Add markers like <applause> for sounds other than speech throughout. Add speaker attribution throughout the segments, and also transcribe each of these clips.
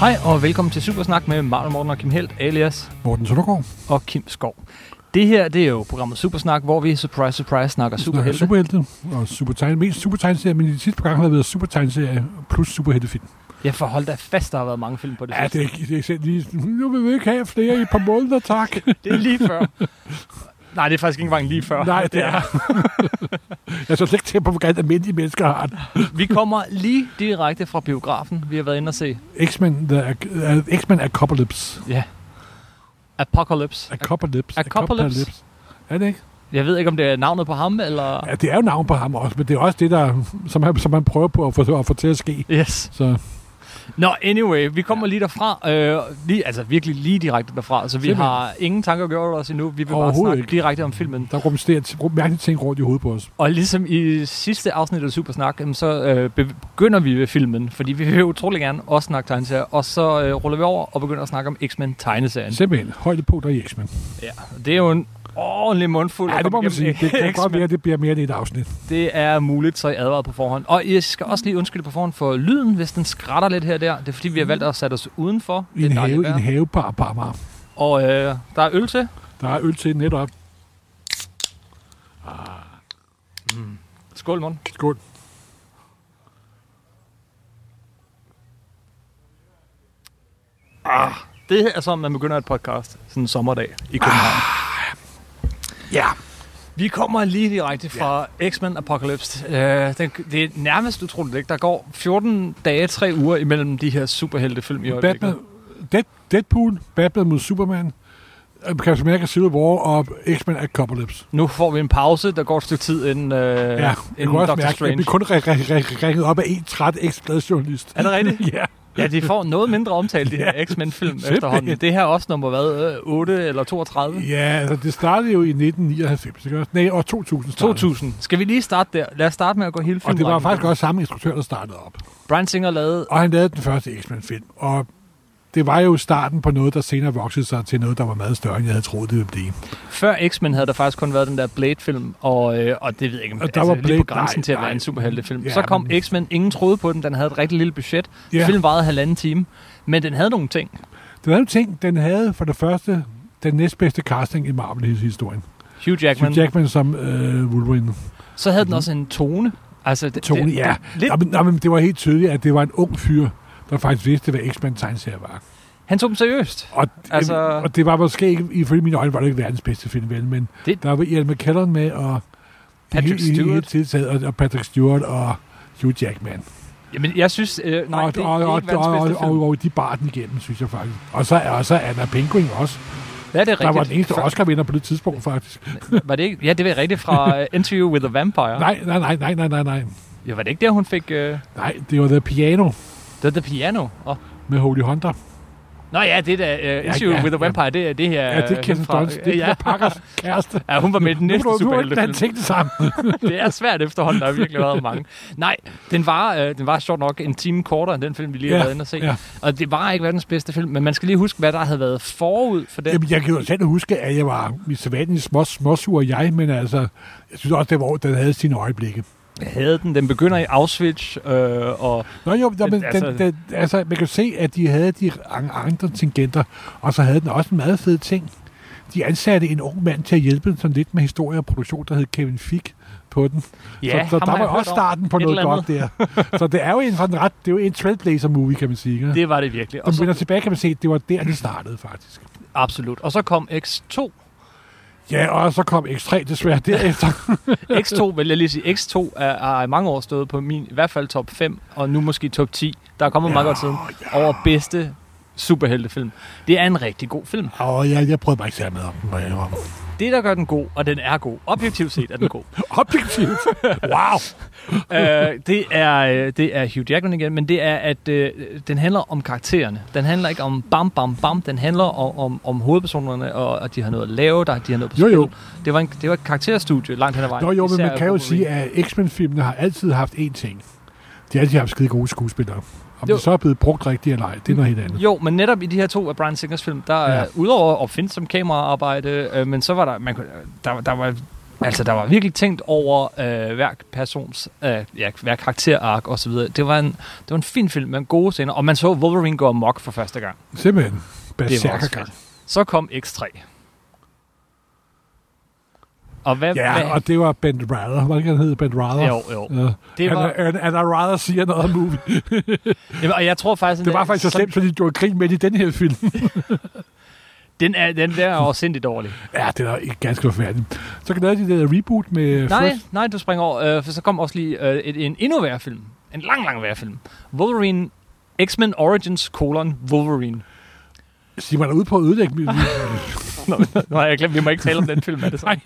Speaker 1: Hej og velkommen til Supersnak med Marlon Morten og Kim Helt, alias
Speaker 2: Morten Søndergaard.
Speaker 1: og Kim Skov. Det her, det er jo programmet Supersnak, hvor vi, surprise, surprise, snakker superhelte. Super.
Speaker 2: Superhelte og supertegne. Mest supertegneserie, men i de sidste par gange har der været supertegneserie plus superheltefilm.
Speaker 1: Jeg forholdt dig fast, der har været mange film på det
Speaker 2: Ja, det er, ikke- det er ikke selv lige... Nu vil vi ikke have flere i et par måneder, <laughs> tak.
Speaker 1: det er lige før. Nej, det er faktisk ikke engang lige før.
Speaker 2: Nej, det er... <laughs> jeg så slet ikke tænke på, hvor galt almindelige mennesker har det.
Speaker 1: Vi kommer lige direkte fra biografen. Vi har været inde og se
Speaker 2: X-Men, the, uh, X-Men Apocalypse.
Speaker 1: Apocalypse.
Speaker 2: Apocalypse.
Speaker 1: Apocalypse?
Speaker 2: Er det ikke?
Speaker 1: Jeg ved ikke, om det er navnet på ham, eller...
Speaker 2: Ja, det er jo navn på ham også, men det er også det, der, som, han, som han prøver på at få, at få til at ske.
Speaker 1: Yes.
Speaker 2: Så
Speaker 1: Nå, anyway, vi kommer lige derfra. Øh, lige, altså virkelig lige direkte derfra. Så vi
Speaker 2: Simpelthen.
Speaker 1: har ingen tanker gjort os endnu. Vi vil bare
Speaker 2: Overhovedet
Speaker 1: snakke
Speaker 2: ikke.
Speaker 1: direkte om filmen.
Speaker 2: der rumsterer rum, mærkelige ting rundt i hovedet på os.
Speaker 1: Og ligesom i sidste afsnit af Supersnak, jamen, så øh, begynder vi ved filmen, fordi vi vil jo utrolig gerne også snakke tegneserier, og så øh, ruller vi over og begynder at snakke om X-Men tegneserien.
Speaker 2: Simpelthen, højdepunkter i X-Men.
Speaker 1: Ja, det er jo en ordentlig mundfuld.
Speaker 2: Ja,
Speaker 1: at
Speaker 2: det må
Speaker 1: komme
Speaker 2: man sige.
Speaker 1: <laughs> igennem
Speaker 2: Det kan godt
Speaker 1: X-Men.
Speaker 2: være, at det bliver mere end et afsnit.
Speaker 1: Det er muligt, så I advarer på forhånd. Og jeg skal også lige undskylde på forhånd for lyden, hvis den skratter lidt her og der. Det er fordi, vi har valgt at sætte os udenfor.
Speaker 2: I
Speaker 1: Det
Speaker 2: en
Speaker 1: er dejligt
Speaker 2: have, i en
Speaker 1: vejr.
Speaker 2: have på Amager.
Speaker 1: Og øh, der er øl til.
Speaker 2: Der er øl til netop.
Speaker 1: Skål, morgen.
Speaker 2: Skål.
Speaker 1: Det er som, man begynder et podcast sådan en sommerdag i København.
Speaker 2: Ja.
Speaker 1: Vi kommer lige direkte fra ja. X-Men Apocalypse. Øh, den, det er nærmest utroligt, ikke? Der går 14 dage, 3 uger imellem de her superheltefilm i øjeblikket.
Speaker 2: Batman, Dead, Deadpool, Batman mod Superman, øh, Captain America Civil War og X-Men Apocalypse.
Speaker 1: Nu får vi en pause, der går et stykke tid inden, øh,
Speaker 2: Ja, ja
Speaker 1: ja,
Speaker 2: jeg
Speaker 1: inden
Speaker 2: kunne også
Speaker 1: Doctor
Speaker 2: mærke, at jeg
Speaker 1: Strange.
Speaker 2: blev kun re- re- re- ringet op af en træt ekspladjournalist.
Speaker 1: Er det rigtigt?
Speaker 2: ja.
Speaker 1: <laughs> Ja, de får noget mindre omtale,
Speaker 2: <laughs>
Speaker 1: de her X-Men-film efterhånden. Det her er også nummer hvad, øh, 8 eller 32?
Speaker 2: ja, altså det startede jo i 1999, ikke også? Nej, år 2000 startede.
Speaker 1: 2000. Skal vi lige starte der? Lad os starte med at gå hele filmen.
Speaker 2: Og det var faktisk også samme instruktør, der startede op.
Speaker 1: Brian Singer lavede...
Speaker 2: Og han lavede den første X-Men-film, og det var jo starten på noget, der senere voksede sig til noget, der var meget større, end jeg havde troet, det ville blive.
Speaker 1: Før X-Men havde der faktisk kun været den der Blade-film, og, øh, og det ved jeg ikke, om-
Speaker 2: Og der
Speaker 1: altså,
Speaker 2: var
Speaker 1: lige på
Speaker 2: Blade-
Speaker 1: grænsen
Speaker 2: nej,
Speaker 1: til at være
Speaker 2: nej.
Speaker 1: en superheltefilm.
Speaker 2: Ja,
Speaker 1: Så kom
Speaker 2: men-
Speaker 1: X-Men, ingen troede på den, den havde et rigtig lille budget.
Speaker 2: Ja.
Speaker 1: Yeah. Filmen varede halvanden time, men den havde nogle ting.
Speaker 2: Den havde jo ting, den havde for det første den næstbedste casting i Marvel-historien.
Speaker 1: Hugh Jackman.
Speaker 2: Hugh Jackman som øh, Wolverine.
Speaker 1: Så havde den også en tone. Altså, det,
Speaker 2: Tony,
Speaker 1: det,
Speaker 2: ja.
Speaker 1: Lidt,
Speaker 2: Nå, men, nå, men det var helt tydeligt, at det var en ung fyr, der faktisk vidste, hvad X-Men tegneserie var.
Speaker 1: han tog dem seriøst.
Speaker 2: Og,
Speaker 1: Altså-
Speaker 2: altså... og det var måske ikke, ifølge mine øjne, var det ikke verdens bedste film, vel, men
Speaker 1: Det-
Speaker 2: det... der var Ian McKellen med, og
Speaker 1: Patrick
Speaker 2: i- i- i- i-
Speaker 1: Stewart.
Speaker 2: tiltaget, og, og Patrick Stewart og Hugh Jackman.
Speaker 1: Jamen, jeg synes... Øh, nej,
Speaker 2: og,
Speaker 1: det, det
Speaker 2: og,
Speaker 1: er
Speaker 2: og,
Speaker 1: ikke verdens
Speaker 2: og,
Speaker 1: bedste
Speaker 2: og,
Speaker 1: film.
Speaker 2: og, og de bar den igennem, synes jeg faktisk. Og så, og så Anna Penguin også.
Speaker 1: Ja, det er
Speaker 2: Der
Speaker 1: rigtigt.
Speaker 2: var den eneste
Speaker 1: Før-
Speaker 2: Oscar-vinder på det tidspunkt, faktisk.
Speaker 1: Var det ikke? Ja, det var rigtigt fra uh, Interview with a Vampire.
Speaker 2: Nej, nej, nej, nej, nej, nej, nej.
Speaker 1: Ja, var det ikke der, hun fik... Uh, det
Speaker 2: Nej, det var The Piano
Speaker 1: var The Piano. Og...
Speaker 2: med Holy Hunter.
Speaker 1: Nå ja, det der uh, Interview
Speaker 2: ja,
Speaker 1: with a
Speaker 2: ja.
Speaker 1: Vampire, det er det her...
Speaker 2: Ja, det er
Speaker 1: øh,
Speaker 2: Kirsten
Speaker 1: fra-
Speaker 2: Dunst. Det
Speaker 1: ja,
Speaker 2: er Pakkers kæreste.
Speaker 1: ja, hun var med i den
Speaker 2: Nu
Speaker 1: næste
Speaker 2: må du- Nu må du ikke blande
Speaker 1: superheltefilm.
Speaker 2: tingene sammen.
Speaker 1: <laughs> Det er svært efterhånden, der har virkelig været mange. Nej, den var, øh, den var sjovt nok en time kortere end den film, vi lige har
Speaker 2: Ja,
Speaker 1: været inde og se.
Speaker 2: ja.
Speaker 1: Og det var ikke verdens bedste film, men man skal lige huske, hvad der havde været forud for den.
Speaker 2: Jamen, jeg kan jo selv huske, at jeg var mit sædvanlige små, småsur jeg, men altså, jeg synes også, det var, den havde sine øjeblikke.
Speaker 1: Jeg havde den. Den begynder i Auschwitz, øh, og
Speaker 2: Nå jo, men, den,
Speaker 1: Altså-
Speaker 2: altså, den, den, altså, man kan se, at de havde de an- andre tangenter, og så havde den også en meget fed ting. De ansatte en ung mand til at hjælpe dem sådan lidt med historie og produktion, der hed Kevin Fick på den.
Speaker 1: Ja,
Speaker 2: så, så
Speaker 1: ham har
Speaker 2: der var
Speaker 1: jeg hørt
Speaker 2: også
Speaker 1: om.
Speaker 2: starten på
Speaker 1: Et
Speaker 2: noget
Speaker 1: eller
Speaker 2: godt der. <laughs> så det er jo en, sådan ret, det er jo en trailblazer-movie, kan man sige. Ikke? Det,
Speaker 1: det var det virkelig.
Speaker 2: og
Speaker 1: Og
Speaker 2: så,
Speaker 1: så,
Speaker 2: vender tilbage, kan man se, at det var der, det startede faktisk.
Speaker 1: absolut. Og så kom
Speaker 2: <laughs>
Speaker 1: X2,
Speaker 2: Ja, og så kom
Speaker 1: <laughs>
Speaker 2: X3 desværre derefter.
Speaker 1: X2, vil jeg lige sige, X2 er, er i mange år stået på min, i hvert fald top 5, og nu måske top 10. Der er kommet ja, meget godt siden ja. over bedste superheltefilm. Det er en rigtig god film.
Speaker 2: og jeg, jeg prøvede bare ikke særlig med om den. må jeg indrømme.
Speaker 1: Det, der gør den god, og den er god, objektivt set er den
Speaker 2: <laughs>
Speaker 1: god, <laughs>
Speaker 2: Objektivt. Wow.
Speaker 1: øh, det, er, øh, det er Hugh Jackman igen, men det er, at øh, den handler om karaktererne. Den handler ikke om bam, bam, bam. Den handler om, om, om hovedpersonerne, og at de har noget at lave, der de har noget på
Speaker 2: Jo, jo.
Speaker 1: spil. Det var, en, det var et karakterstudie langt hen ad vejen.
Speaker 2: Nå jo, men
Speaker 1: især
Speaker 2: man kan jo
Speaker 1: Wolverine.
Speaker 2: sige, at X-Men-filmene har altid haft én ting. De har altid haft skide gode skuespillere. Om
Speaker 1: Jo.
Speaker 2: de så er blevet brugt rigtigt eller ej, det er noget helt andet.
Speaker 1: Jo, men netop i de her to af Brian Singers film, der ja.
Speaker 2: Ja.
Speaker 1: øh, udover at finde som kameraarbejde, øh, men så var der, man, kunne- der, der var Altså, der var virkelig tænkt over øh, hver persons, øh, ja, hver karakterark og så videre. Det var, en, det var en fin film med gode scener, og man så Wolverine gå amok for første gang.
Speaker 2: Simpelthen.
Speaker 1: Det var også
Speaker 2: Berserkergang.
Speaker 1: fedt. Så kom X3. Og hvad... hvad,
Speaker 2: Ja, og det var Ben Rather. Var det ikke, han hed? Ben Rather?
Speaker 1: Jo, jo.
Speaker 2: Ja.
Speaker 1: Det
Speaker 2: And,
Speaker 1: var-
Speaker 2: and, and I rather see another movie.
Speaker 1: Jamen, og jeg tror faktisk...
Speaker 2: Det var faktisk så slemt, fordi de gjorde krig med det i den her film.
Speaker 1: Den, er, den der er oversindigt dårlig.
Speaker 2: ja, det er ikke ganske forfærdeligt. Så kan de det der reboot med
Speaker 1: Nej,
Speaker 2: First.
Speaker 1: nej, du springer over, øh, for så kom også lige øh, et, en endnu værre film. En lang, lang værre film. Wolverine X-Men Origins, colon, <laughs> Wolverine.
Speaker 2: Sig mig derude på at ødelægge min...
Speaker 1: Nå, jeg glemt, vi må ikke tale om den film, er det sådan?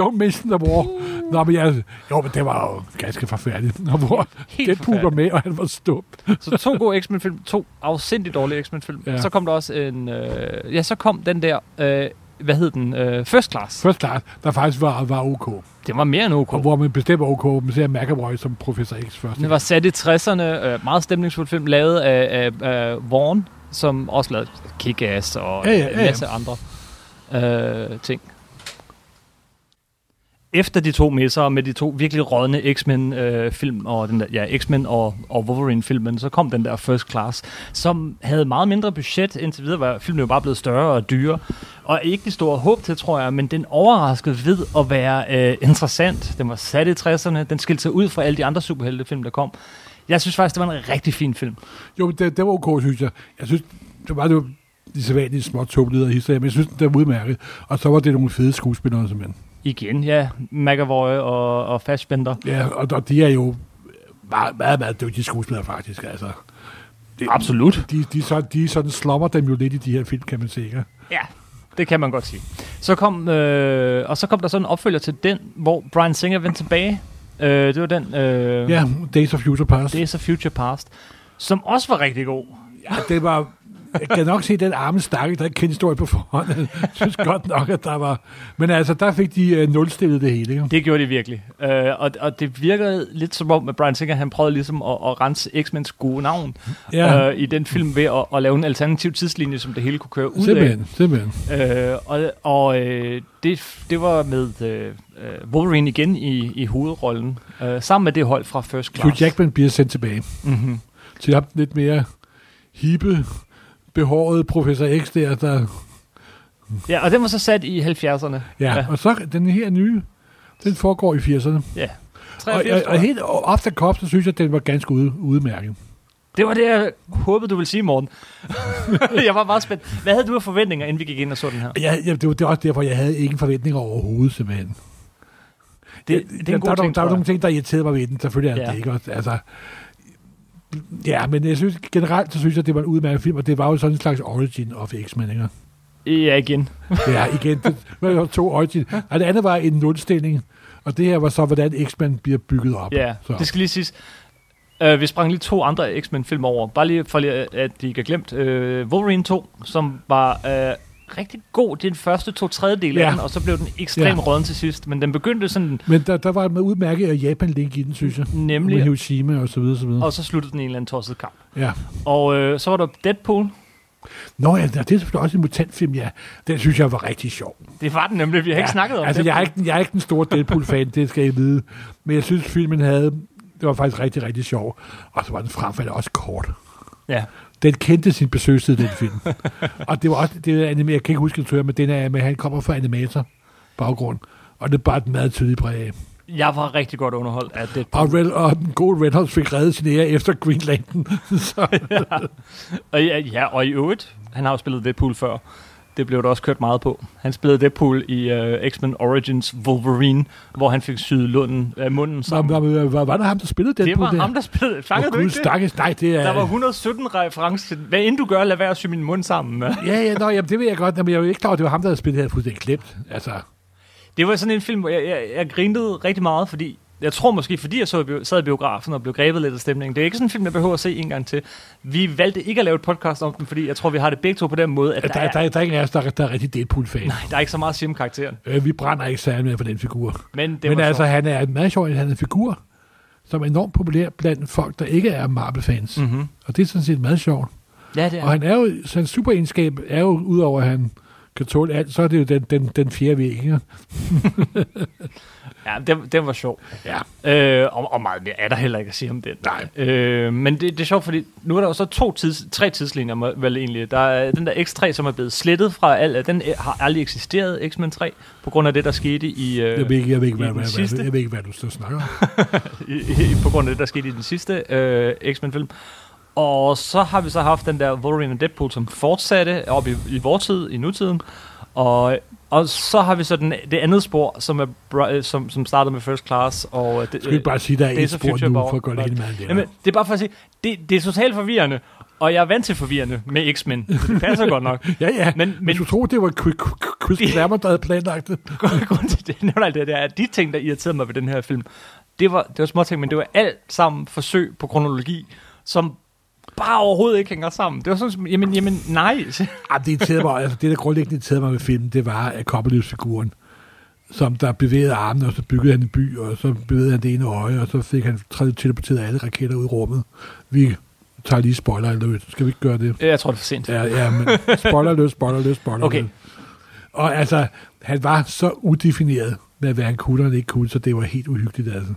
Speaker 2: Don't mention the war. Nå, men jeg... Jo, men det var jo ganske forfærdeligt. Nå, hvor
Speaker 1: Helt
Speaker 2: Deadpool var
Speaker 1: forfærdeligt.
Speaker 2: med, og han var stum.
Speaker 1: Så to gode X-Men-film, to afsindigt dårlige X-Men-film.
Speaker 2: Ja.
Speaker 1: Ja. Så kom der også en... Øh, ja, så kom den der... Øh, hvad hed den? Øh, First Class.
Speaker 2: First Class, der faktisk var, var OK.
Speaker 1: Det var mere end OK.
Speaker 2: Og hvor man bestemmer OK, man ser McAvoy som Professor X først.
Speaker 1: Den var sat i 60'erne, øh, meget stemningsfuld film, lavet af, af, af Vaughn, som også lavede Kick-Ass og
Speaker 2: Ja, ja, ja,
Speaker 1: en masse andre øh, ting. Efter de to messer med de to virkelig rådne X-Men-film, og den der, ja, X-Men og, og Wolverine-filmen, så kom den der First Class, som havde meget mindre budget. Indtil videre var filmen jo bare blevet større og dyrere. Og ikke det store håb til, tror jeg, men den overraskede ved at være øh, interessant. Den var sat i 60'erne, den skilte sig ud fra alle de andre superheltefilm, der kom. Jeg synes faktisk, det var en rigtig fin film.
Speaker 2: Jo, det, det var OK, synes jeg. Jeg synes, det var det var de sædvanlige små togleder historier, men jeg synes, det var udmærket. Og så var det nogle fede skuespillere, simpelthen.
Speaker 1: Igen, ja. McAvoy og, og Fassbender.
Speaker 2: Ja, og, og de er jo meget, meget, meget dygtige skuespillere, faktisk. Altså, det,
Speaker 1: Absolut.
Speaker 2: De, de, så, de sådan slummer dem jo lidt i de her film, kan man sikkert.
Speaker 1: Ja, det kan man godt sige. Så kom, øh, og så kom der sådan en opfølger til den, hvor Brian Singer vendte tilbage. Øh, det var den... Øh,
Speaker 2: Ja, Days of Future Past. Det,
Speaker 1: Days of Future Past, som også var rigtig god.
Speaker 2: ja, det var... Jeg kan nok se den arme stakke, der ikke kendte historie på forhånd. Jeg synes godt nok, at der var... Men altså, der fik de øh, nulstillet det hele. Ikke?
Speaker 1: Det gjorde de virkelig. Øh, og, og det virkede lidt som om, at Brian Singer han prøvede ligesom at, at rense X-Mens gode navn
Speaker 2: Ja.
Speaker 1: ja. øh, i den film ved at, at lave en alternativ tidslinje, som det hele kunne køre ud
Speaker 2: Simpelthen, simpelthen.
Speaker 1: af. Øh, og og øh, det, det var med øh, øh, Wolverine igen i, i hovedrollen, øh, sammen med det hold fra First Class.
Speaker 2: Hugh Jackman bliver sendt tilbage.
Speaker 1: Mm-hmm.
Speaker 2: til ham den lidt mere hippe, behåret professor X der, der
Speaker 1: Ja, og den var så sat i 70'erne.
Speaker 2: ja. ja.
Speaker 1: Ja.
Speaker 2: Og så den her nye, den foregår i 80'erne.
Speaker 1: Ja.
Speaker 2: Og,
Speaker 1: 83,
Speaker 2: og,
Speaker 1: tror
Speaker 2: og
Speaker 1: jeg.
Speaker 2: helt op til kop, så synes jeg, at den var ganske ude, udmærket.
Speaker 1: Det var det, jeg håbede, du ville sige,
Speaker 2: <laughs>
Speaker 1: Morten. jeg var meget spændt. Hvad havde du af forventninger, inden vi gik ind og så den her?
Speaker 2: Jeg, jeg, det, var, det var også derfor, jeg havde ingen forventninger overhovedet, simpelthen.
Speaker 1: Det, det er
Speaker 2: der,
Speaker 1: en god
Speaker 2: der,
Speaker 1: ting,
Speaker 2: der,
Speaker 1: tror
Speaker 2: var
Speaker 1: jeg.
Speaker 2: nogle ting, der irriterede mig ved den, selvfølgelig er
Speaker 1: Ja.
Speaker 2: det ikke. også. Altså, ja, men jeg synes generelt, så synes jeg, at det var en udmærket film, og det var jo sådan en slags origin of X-Men, ikke?
Speaker 1: Ja, igen.
Speaker 2: Ja, igen. Det var jo to origin. Og det andet var en nulstilling, og det her var så, hvordan X-Men bliver bygget op.
Speaker 1: Ja,
Speaker 2: så.
Speaker 1: det skal lige siges. Uh, vi sprang lige to andre X-Men-film over. Bare lige for, lige, at de ikke er glemt. Uh, Wolverine 2, som var uh, rigtig god. Det er den første to tredjedel
Speaker 2: Ja.
Speaker 1: af den, og så blev den ekstremt
Speaker 2: Ja.
Speaker 1: ja. råden til sidst. Men den begyndte sådan
Speaker 2: Men der, der var med udmærket af Japan-link i den, synes jeg. Med
Speaker 1: nemlig,
Speaker 2: Hiroshima og så videre, så videre.
Speaker 1: og så sluttede den i en eller anden tosset kamp.
Speaker 2: Ja.
Speaker 1: Og uh, så var der Deadpool.
Speaker 2: Nå ja, det er selvfølgelig også en mutantfilm, ja. Den synes jeg var rigtig sjov.
Speaker 1: Det var den nemlig, vi har ja,
Speaker 2: ja,
Speaker 1: ikke snakket om
Speaker 2: altså,
Speaker 1: det.
Speaker 2: jeg er, ikke, den- jeg er ikke den store Deadpool-fan, det skal I vide. Men jeg synes, filmen havde... Det var faktisk rigtig, rigtig sjov. Og så var den fremfald også kort.
Speaker 1: Ja.
Speaker 2: Den kendte sin besøgstid, den
Speaker 1: <laughs>
Speaker 2: film. og det var også det der anime, jeg kan ikke huske, den tør, men den er, men han kommer fra animator baggrund. Og det er bare et meget tydeligt præg af.
Speaker 1: Jeg var rigtig godt underholdt af Deadpool.
Speaker 2: Og, Red, og den gode Reynolds fik reddet sin ære efter Green Lantern. <laughs>
Speaker 1: <laughs>
Speaker 2: så,
Speaker 1: Og ja, ja, og i øvrigt, han har jo spillet Deadpool før. Det blev der også kørt meget på. Han spillede Deadpool i uh, X-Men Origins Wolverine, hvor han fik syet lunden, uh, munden
Speaker 2: var,
Speaker 1: sammen.
Speaker 2: var, var, var, var, det ham, der spillede den
Speaker 1: det var
Speaker 2: der?
Speaker 1: ham, der spillede. Fangede
Speaker 2: Åh,
Speaker 1: du
Speaker 2: Gud,
Speaker 1: ikke det?
Speaker 2: stakkes, nej, det er...
Speaker 1: Der var 117 referencer. Hvad end du gør, lad være at sy min mund sammen. mand.
Speaker 2: Ja, ja, nå, jamen, det ved jeg godt, men jeg er jo ikke klar, over, at det var ham, der havde spillet det her fuldstændig klemt. Altså,
Speaker 1: Det var sådan en film, hvor jeg, jeg, jeg grinede rigtig meget, fordi jeg tror måske, fordi jeg så i bio, sad i biografen og blev grebet lidt af stemningen. Det er ikke sådan en film, jeg behøver at se en gang til. Vi valgte ikke at lave et podcast om den, fordi jeg tror, vi har det begge to på den måde, at
Speaker 2: der,
Speaker 1: der,
Speaker 2: der,
Speaker 1: er,
Speaker 2: der, der er ingen af os, der, er- der er rigtig Deadpool-fan.
Speaker 1: der er ikke så meget at sige om karakteren.
Speaker 2: Øh, vi brænder ikke særlig med for den figur.
Speaker 1: Men, det
Speaker 2: Det men
Speaker 1: var
Speaker 2: altså,
Speaker 1: sjovt.
Speaker 2: han er en meget sjov, han er en figur, som er enormt populær blandt folk, der ikke er Marvel-fans. Mm.
Speaker 1: Mm-hmm.
Speaker 2: Og det er sådan set meget sjovt.
Speaker 1: Ja, det er.
Speaker 2: Ja. Og han er jo, så hans superegenskab er jo, udover at han kan tåle alt, så er det jo den, den, den fjerde væg. ikke?
Speaker 1: Ja, den, den var sjov.
Speaker 2: Ja.
Speaker 1: Øh, og, og meget mere er der heller ikke at sige om den.
Speaker 2: Nej.
Speaker 1: Øh, men det, det er sjovt, fordi nu er der jo så to tids, tre tidslinjer, må- vel egentlig. Der er den der X3, som er blevet slettet fra alt, den øh, har aldrig eksisteret, X-Men 3, på grund af det, der skete i... Øh,
Speaker 2: Jeg ved ikke, jeg ved ikke,
Speaker 1: I
Speaker 2: hvad,
Speaker 1: den
Speaker 2: hvad, hvad,
Speaker 1: sidste?
Speaker 2: jeg ved ikke, hvad du står og snakker om.
Speaker 1: i, i, på grund af det, der skete i den sidste øh, X-Men-film. Og så har vi så haft den der Wolverine og Deadpool, som fortsatte op i, i vor tid, i nutiden. Og, og så har vi så den, det andet spor, som, er, br- øh, som, som startede med First Class. Og øh, det,
Speaker 2: Skal vi ikke bare sige, der er
Speaker 1: det er
Speaker 2: et
Speaker 1: så
Speaker 2: spor
Speaker 1: future
Speaker 2: nu,
Speaker 1: power-
Speaker 2: for at gøre det hele meget
Speaker 1: Jamen,
Speaker 2: lettere.
Speaker 1: det er bare for at sige, det, det er totalt forvirrende, og jeg er vant til forvirrende med X-Men, så det passer godt <laughs> nok.
Speaker 2: Ja, ja.
Speaker 1: Men-
Speaker 2: Men, men,
Speaker 1: men-
Speaker 2: du tror, det var
Speaker 1: <laughs>
Speaker 2: Chris- Chris Klammer, der havde planlagt det.
Speaker 1: Grunden til, at jeg nævner alt det, det er, at de ting, der irriterede mig ved den her film, det var, det var små ting, men det var alt sammen forsøg på kronologi, som bare overhovedet ikke hænger sammen. Det var sådan, som, jamen, jamen, nej.
Speaker 2: Jamen, det irriterede mig, altså det, der grundlæggende irriterede mig ved filmen, det var at Koppeløs-figuren, som der bevægede armen, og så byggede han en by, og så bevægede han det ene øje, og så fik han tre- teleporteret alle raketter ud i rummet. Vi tager lige spoiler alert. Skal vi ikke gøre det?
Speaker 1: <laughs> Jeg tror, det er for sent.
Speaker 2: Ja, ja, men spoiler alert, spoiler alert, spoiler
Speaker 1: Okay.
Speaker 2: alert. Og altså, han var så udefineret med, hvad han kunne og ikke kunne, så det var helt uhyggeligt, altså.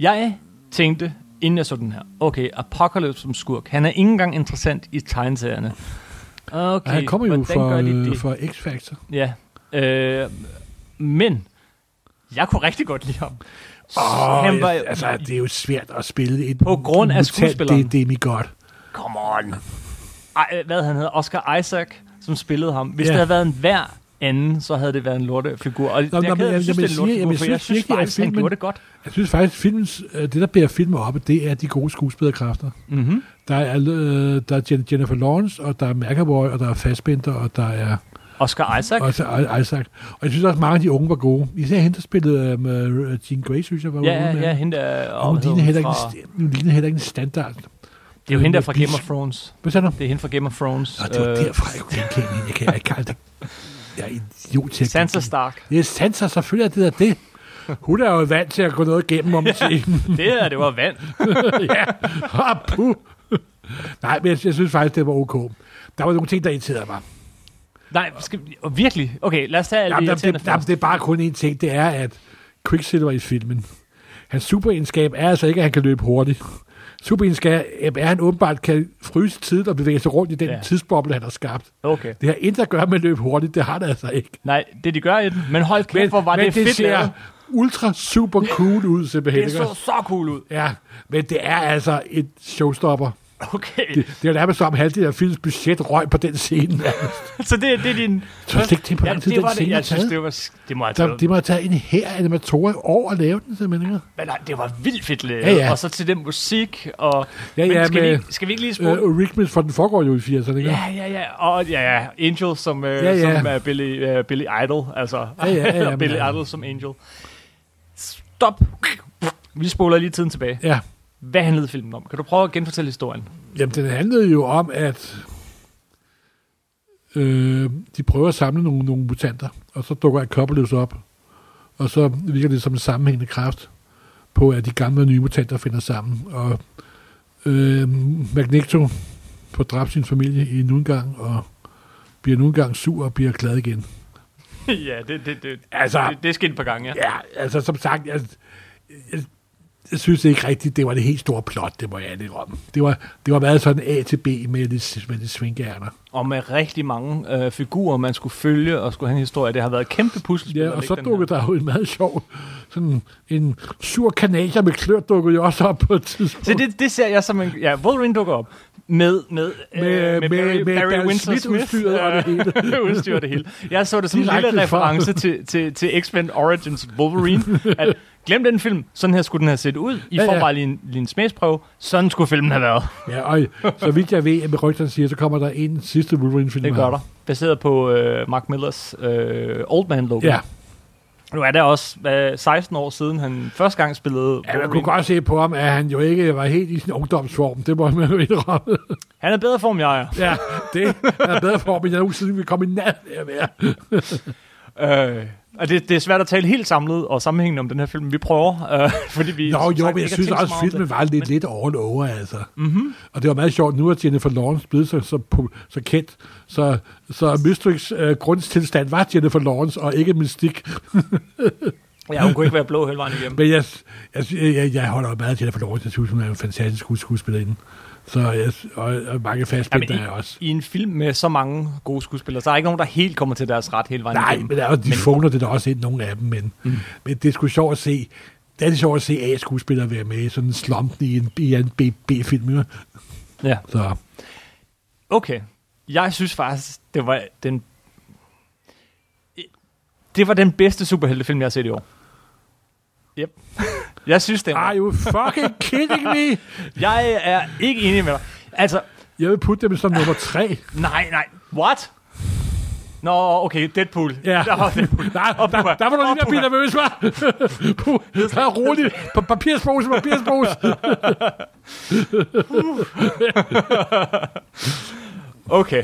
Speaker 1: Jeg tænkte, inden jeg så den her, okay, Apocalypse som skurk, han er ikke engang interessant i tegneserierne. Okay,
Speaker 2: Og han kommer jo
Speaker 1: hvordan
Speaker 2: fra,
Speaker 1: gør de
Speaker 2: øh,
Speaker 1: det?
Speaker 2: fra X-Factor.
Speaker 1: Ja. Øh, men, jeg kunne rigtig godt lide ham.
Speaker 2: Åh,
Speaker 1: han var,
Speaker 2: jeg- altså, det er jo svært at spille et
Speaker 1: På grund af
Speaker 2: mutant
Speaker 1: skuespilleren.
Speaker 2: Det, det er mig godt.
Speaker 1: Come on. Ej, hvad han hedder? Oscar Isaac, som spillede ham. Hvis
Speaker 2: Ja.
Speaker 1: yeah. det havde været en hver anden, så havde det været en lortefigur. Og
Speaker 2: nå,
Speaker 1: jeg,
Speaker 2: men
Speaker 1: kan,
Speaker 2: jeg-
Speaker 1: jeg, synes,
Speaker 2: jeg
Speaker 1: det er en
Speaker 2: siger-
Speaker 1: lortefigur,
Speaker 2: jeg
Speaker 1: for
Speaker 2: siger
Speaker 1: jeg synes
Speaker 2: virkelig, at
Speaker 1: faktisk, han
Speaker 2: filmen-
Speaker 1: gjorde det godt.
Speaker 2: Jeg synes faktisk, filmens, øh, det der bærer filmen op, det er de gode skuespillerkræfter.
Speaker 1: Mm-hmm.
Speaker 2: Der er, øh, der er Jen- Jennifer Lawrence, og der er McAvoy, og der er Fassbender, og der er
Speaker 1: Oscar Isaac.
Speaker 2: også I- Isaac. Og jeg synes også, mange af de unge var gode. Især hende, der spillede øh, med Jean Grey, synes jeg var
Speaker 1: ja,
Speaker 2: ude
Speaker 1: ja,
Speaker 2: med.
Speaker 1: ja, hende der.
Speaker 2: Og hun
Speaker 1: hvad hedder
Speaker 2: lignede heller, ikke
Speaker 1: fra-
Speaker 2: en, st- hun lignede heller ikke en standard.
Speaker 1: Det er jo hende der fra
Speaker 2: Beast.
Speaker 1: Game of Thrones.
Speaker 2: Hvad sagde du?
Speaker 1: Det er hende fra Game of Thrones. Øh,
Speaker 2: Nå, det var derfra, jeg kunne genkende hende. Jeg kan jeg kan aldrig... Jeg er idiot til at
Speaker 1: Sansa
Speaker 2: genkende.
Speaker 1: Stark.
Speaker 2: Det er Sansa, selvfølgelig er det der det. Hun er jo vant til at gå noget
Speaker 1: <laughs>
Speaker 2: igennem om scenen.
Speaker 1: Det er det var vand.
Speaker 2: ja, ah, puh. Nej, men jeg, jeg synes faktisk, det var ok. Der var nogle ting, der irriterede mig.
Speaker 1: Nej, skal, og virkelig. Okay, lad os tage alle
Speaker 2: Jamen,
Speaker 1: de
Speaker 2: jamen,
Speaker 1: irriterende
Speaker 2: det, jamen,
Speaker 1: først.
Speaker 2: det er bare kun én ting, det er, at Quicksilver i filmen, hans superegenskab er altså ikke, at han kan løbe hurtigt. Superegenskab er, at han åbenbart kan fryse tid og bevæge sig rundt i den
Speaker 1: Ja.
Speaker 2: ja. tidsboble, han har skabt.
Speaker 1: Okay.
Speaker 2: Det har intet at gøre med at løbe hurtigt, det har det altså ikke.
Speaker 1: Nej, det de gør i den. Men hold
Speaker 2: Men,
Speaker 1: kæft, hvor var
Speaker 2: men
Speaker 1: det, fedt
Speaker 2: ser
Speaker 1: lavet.
Speaker 2: ultra super cool ud, simpelthen.
Speaker 1: Det
Speaker 2: ikke
Speaker 1: så
Speaker 2: også?
Speaker 1: så cool ud.
Speaker 2: Ja, men det er altså et showstopper.
Speaker 1: Okay.
Speaker 2: Det, det er jo nærmest som halvdelen af filmens budget røg på den scene.
Speaker 1: Så det, det er din...
Speaker 2: Så slet ikke tænke på, hvor lang tid
Speaker 1: det
Speaker 2: den
Speaker 1: var det.
Speaker 2: scene er
Speaker 1: Jeg synes,
Speaker 2: taget.
Speaker 1: det var... s- Det må have
Speaker 2: Der,
Speaker 1: taget...
Speaker 2: de må have taget en her animatorer over at lave den, simpelthen. ikke?
Speaker 1: Men nej, det var vildt fedt lavet.
Speaker 2: Ja, ja.
Speaker 1: Og så til den musik, og...
Speaker 2: Ja,
Speaker 1: men
Speaker 2: ja,
Speaker 1: skal,
Speaker 2: med-
Speaker 1: vi, ikke- skal vi ikke lige spole...
Speaker 2: Øh, og Rickmans, for den foregår jo i 80'erne, ikke?
Speaker 1: ja, ja, ja. Og ja, ja. Angel som, øh,
Speaker 2: Ja, ja.
Speaker 1: som er Billy, øh, Billy Idol. Altså,
Speaker 2: Ja,
Speaker 1: <laughs>
Speaker 2: ja, ja, ja, men-
Speaker 1: Billy Idol som Angel. Stop. Vi spoler lige tiden tilbage.
Speaker 2: ja.
Speaker 1: Hvad handlede filmen om? Kan du prøve at genfortælle
Speaker 2: <laughs>
Speaker 1: historien?
Speaker 2: Jamen, den handlede jo om, at øh, de prøver at samle nogle, nogle mutanter, og så dukker Akopolis op, og så virker det som en sammenhængende kraft på, at de gamle og nye mutanter finder sammen. Og øh, Magneto får dræbt sin familie i en gang, og bliver nu engang sur og bliver glad igen.
Speaker 1: ja, det, det, det,
Speaker 2: Altså-
Speaker 1: det, det skete et par gange, ja.
Speaker 2: Ja, altså som sagt, jeg, jeg, jeg synes ikke rigtigt, det var det helt store plot, det må jeg ærligt om. Det var, det var meget sådan A til B med lidt, med lidt svingærner.
Speaker 1: Og med rigtig mange øh, figurer, man skulle følge og skulle have en historie. Det har været et kæmpe puslespil.
Speaker 2: Ja,
Speaker 1: at
Speaker 2: og
Speaker 1: lægge
Speaker 2: så
Speaker 1: den her.
Speaker 2: dukkede der jo en meget sjov, sådan en sur kanadier med klør dukkede jo også op på et tidspunkt.
Speaker 1: Så det, det ser jeg som en... Ja, Wolverine dukker op med, med, øh,
Speaker 2: Med- med- med Barry Smith udstyret og det
Speaker 1: hele. <laughs> udstyret og det hele. Jeg så det som en
Speaker 2: Direkte
Speaker 1: lille
Speaker 2: fra-
Speaker 1: reference til, til, til X-Men Origins Wolverine. At, glem den film. Sådan her skulle den have set ud. I
Speaker 2: Ja,
Speaker 1: får
Speaker 2: ja.
Speaker 1: bare lige en, lige en smagsprøve. Sådan skulle filmen have været.
Speaker 2: Ja, og så vidt jeg ved, at med rygterne siger, så kommer der en sidste Wolverine-film.
Speaker 1: Det gør der. Baseret på øh, Mark Millers øh, Old Man Logan.
Speaker 2: Ja,
Speaker 1: Nu er det også hvad, 16 år siden, han første gang spillede
Speaker 2: ja man
Speaker 1: Wolverine.
Speaker 2: kunne godt se på ham, at han jo ikke var helt i sin ungdomsform. Det må man jo indrømme.
Speaker 1: Han er bedre i form, jeg er.
Speaker 2: Ja, det er bedre form, end jeg nogensinde vil komme i nat af at være.
Speaker 1: Øh, Og det, det er svært at tale helt samlet og sammenhængende om den her film. Vi prøver, øh, fordi vi...
Speaker 2: Nå,
Speaker 1: som
Speaker 2: jo,
Speaker 1: sagt
Speaker 2: men jeg
Speaker 1: ikke har
Speaker 2: synes
Speaker 1: tænkt så
Speaker 2: også,
Speaker 1: meget
Speaker 2: at
Speaker 1: om
Speaker 2: filmen
Speaker 1: det.
Speaker 2: var lidt, lidt all over, altså.
Speaker 1: Mhm.
Speaker 2: Mm-hmm. Og det var meget sjovt, nu er Jennifer Lawrence blevet så, så, po- så kendt, så, så Mystics øh, grundstilstand var Jennifer Lawrence, og ikke Mystik.
Speaker 1: Ja, hun kunne ikke være blå hele vejen
Speaker 2: <laughs>
Speaker 1: igennem.
Speaker 2: Men jeg, jeg, jeg, jeg holder jo meget af Jennifer Lawrence, jeg synes, hun er en fantastisk skues- skuespillerinde. Så jeg, og, og mange fastbinder er
Speaker 1: Jamen,
Speaker 2: også.
Speaker 1: I en film med så mange gode skuespillere, så er der ikke nogen, der helt kommer til deres ret hele vejen
Speaker 2: Nej,
Speaker 1: igennem.
Speaker 2: men der, er jo- de fåner det der også ind, nogle af dem, men, mm. men det er sgu sjovt at se, det er det sjovt at se A-skuespillere være med i sådan en slumpen i en, i en B- B-film. ikke?
Speaker 1: Ja.
Speaker 2: Så
Speaker 1: Okay. Jeg synes faktisk, det var den... Det var den bedste superheltefilm, jeg har set i år. Yep. <laughs> jeg synes, det
Speaker 2: Are
Speaker 1: var.
Speaker 2: you fucking kidding me?
Speaker 1: Jeg er ikke enig med dig. Altså,
Speaker 2: <laughs> Jeg vil putte dem som nummer tre.
Speaker 1: nej, nej. What? Nå, okay, Deadpool.
Speaker 2: Ja.
Speaker 1: Der var Deadpool.
Speaker 2: <laughs> Nej, der, der, der var du lige ved at blive nervøs, hva'? <laughs> Puh, der er roligt. Pa- Papirspose, papirspose.
Speaker 1: Okay.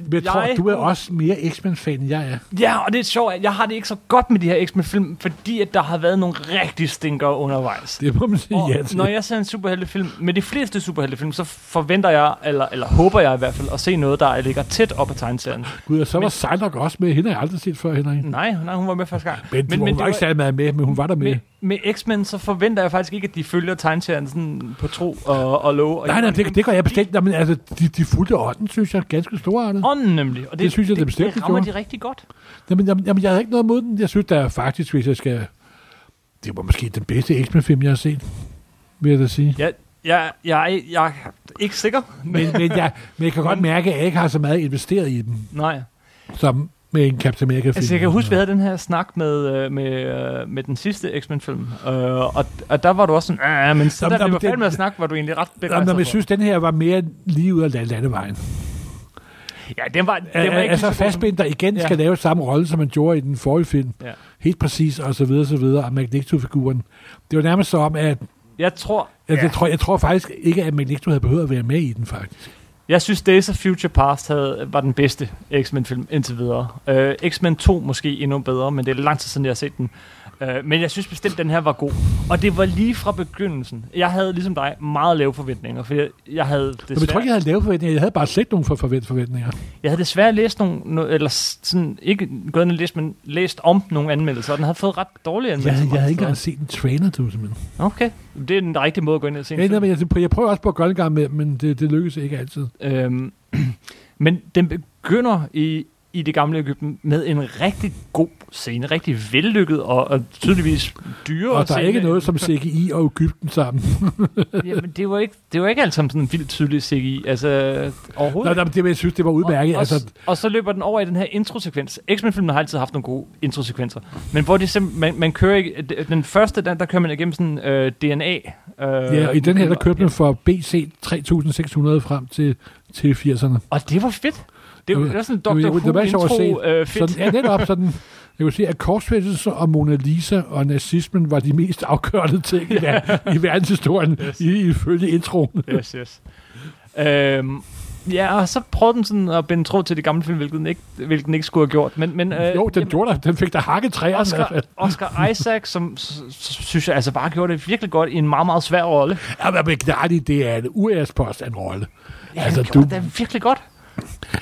Speaker 2: Men jeg tror,
Speaker 1: Jeg-
Speaker 2: du er også mere X-Men-fan, end jeg er.
Speaker 1: Ja, og det er sjovt, at jeg har det ikke så godt med de her X-Men-film, fordi at der har været nogle rigtig stinker undervejs.
Speaker 2: Det må man sige
Speaker 1: Og
Speaker 2: ja til.
Speaker 1: når jeg ser en superheltefilm, med de fleste superheltefilm, så forventer jeg, eller, eller håber jeg i hvert fald, at se noget, der ligger tæt op ad tegneserien.
Speaker 2: Gud, og så var Psylocke også med. Hende har jeg aldrig set før, Henrik.
Speaker 1: Nej, nej, hun var med første gang.
Speaker 2: Mm. Men, men, men hun var ikke særlig meget med, men hun var der med.
Speaker 1: med, med X-Men, så forventer jeg faktisk ikke, at de følger tegneserien sådan på tro og, og lov. Og
Speaker 2: Nej, nej, det, det gør jeg bestemt. Nej, men altså, de, de fulgte ånden, synes jeg, er ganske storartet.
Speaker 1: Ånden nemlig. Og det,
Speaker 2: Det synes jeg, det bestemt,
Speaker 1: det
Speaker 2: det
Speaker 1: rammer de
Speaker 2: gjorde.
Speaker 1: rigtig godt.
Speaker 2: Jamen, jamen, jamen, jeg havde ikke noget imod den. Jeg synes, der er faktisk, hvis jeg skal... Det var måske den bedste X-Men-film, jeg har set, vil jeg da sige.
Speaker 1: Jeg, jeg, jeg, jeg er ikke sikker.
Speaker 2: men, men, jeg, men jeg kan godt mærke, at jeg ikke har så meget investeret i dem,
Speaker 1: Nej.
Speaker 2: som med en Captain America-film.
Speaker 1: Altså, jeg kan huske, vi havde den her snak med, øh, med, øh, med den sidste X-Men-film, øh, og, og der var du også sådan, "Ah, ja, men så
Speaker 2: Jamen,
Speaker 1: da vi
Speaker 2: jamen,
Speaker 1: var færdige
Speaker 2: den-
Speaker 1: med at snakke, var du egentlig ret
Speaker 2: Jamen,
Speaker 1: begejstret
Speaker 2: men
Speaker 1: for.
Speaker 2: jeg synes, den her var mere lige ud af la- landevejen.
Speaker 1: Ja, den var, den var
Speaker 2: Al-
Speaker 1: ikke
Speaker 2: altså,
Speaker 1: lige så god som-
Speaker 2: Fassbinder igen
Speaker 1: Ja.
Speaker 2: ja. skal lave samme rolle, som man gjorde i den forrige film.
Speaker 1: Ja.
Speaker 2: Helt præcis, og så videre, så videre, og Magneto-figuren. Det var nærmest som, at,
Speaker 1: Jeg tror,
Speaker 2: at
Speaker 1: ja.
Speaker 2: ja. Altså, jeg, tror, jeg tror faktisk ikke, at Magneto havde behøvet at være med i den, faktisk.
Speaker 1: jeg synes, Days of Future Past havde, var den bedste X-Men-film indtil videre. Uh, X-Men 2 måske endnu bedre, men det er lang tid siden, jeg har set den. Uh, men jeg synes bestemt, den her var god. Og det var lige fra begyndelsen. Jeg havde, ligesom dig, meget lave forventninger, for jeg, jeg havde
Speaker 2: Men jeg tror
Speaker 1: desværre-
Speaker 2: ikke, jeg havde lavet forventninger. Jeg havde bare slet nogen for forvent forventninger.
Speaker 1: Jeg havde desværre læst nogle, no, eller s- sådan, ikke gået ind og læst, men læst om nogle anmeldelser, og den havde fået ret dårlige
Speaker 2: Jeg,
Speaker 1: anmeldelser.
Speaker 2: havde- jeg havde ikke
Speaker 1: mange
Speaker 2: engang set en trailer, du simpelthen.
Speaker 1: steder. Okay, det er den rigtige måde at gå ind og se en
Speaker 2: Jeg,
Speaker 1: film.
Speaker 2: jeg, altså, jeg, jeg prøver også på at gøre det en gang med, men det, det lykkes ikke altid.
Speaker 1: Øhm, <clears throat> men den begynder i, i det gamle Ægypten med en rigtig god scene, rigtig vellykket og, og tydeligvis dyrere
Speaker 2: Og der er
Speaker 1: scene.
Speaker 2: ikke noget som CGI og Ægypten sammen.
Speaker 1: Jamen, det var ikke, det var ikke alt sammen sådan en vildt tydelig CGI, altså overhovedet
Speaker 2: Nå, nej, men det, men jeg synes, det var udmærket.
Speaker 1: Og,
Speaker 2: altså,
Speaker 1: og, s- og så løber den over i den her introsekvens. X-Men-filmen har altid haft nogle gode introsekvenser. Men hvor det simpelthen, man, man kører ikke... d- Den første, der, der kører man igennem sådan øh, DNA. Øh,
Speaker 2: ja, i den her, der kørte den fra BC 3600 frem til, til 80'erne.
Speaker 1: Og det var fedt. Det var,
Speaker 2: Det var-
Speaker 1: det var sådan
Speaker 2: det var-
Speaker 1: en Dr.
Speaker 2: det var
Speaker 1: Who
Speaker 2: meget sjovt at
Speaker 1: intro øh, fedt.
Speaker 2: Sådan, ja, netop sådan. Jeg kunne sige, at korsfæstelse og Mona Lisa og nazismen var de mest afgørende
Speaker 1: <laughs>
Speaker 2: ting i, ver- i verdenshistorien,
Speaker 1: Yes.
Speaker 2: yes. i, ifølge introen.
Speaker 1: yes, yes. Øhm, ja, og så prøvede den sådan at binde tråd til det gamle film, hvilket den ikke, hvilket den ikke skulle have gjort. Men, men, øh,
Speaker 2: jo, den, gjorde der, den fik der hakket træerne. <laughs>
Speaker 1: Oscar, Oscar Isaac, som s- s- synes jeg altså bare gjorde det virkelig godt i en meget, meget svær rolle.
Speaker 2: Ja, men- men klart, det er en uærespost af en rolle.
Speaker 1: Ja,
Speaker 2: Altså,
Speaker 1: altså, han gjorde
Speaker 2: du-
Speaker 1: det virkelig godt.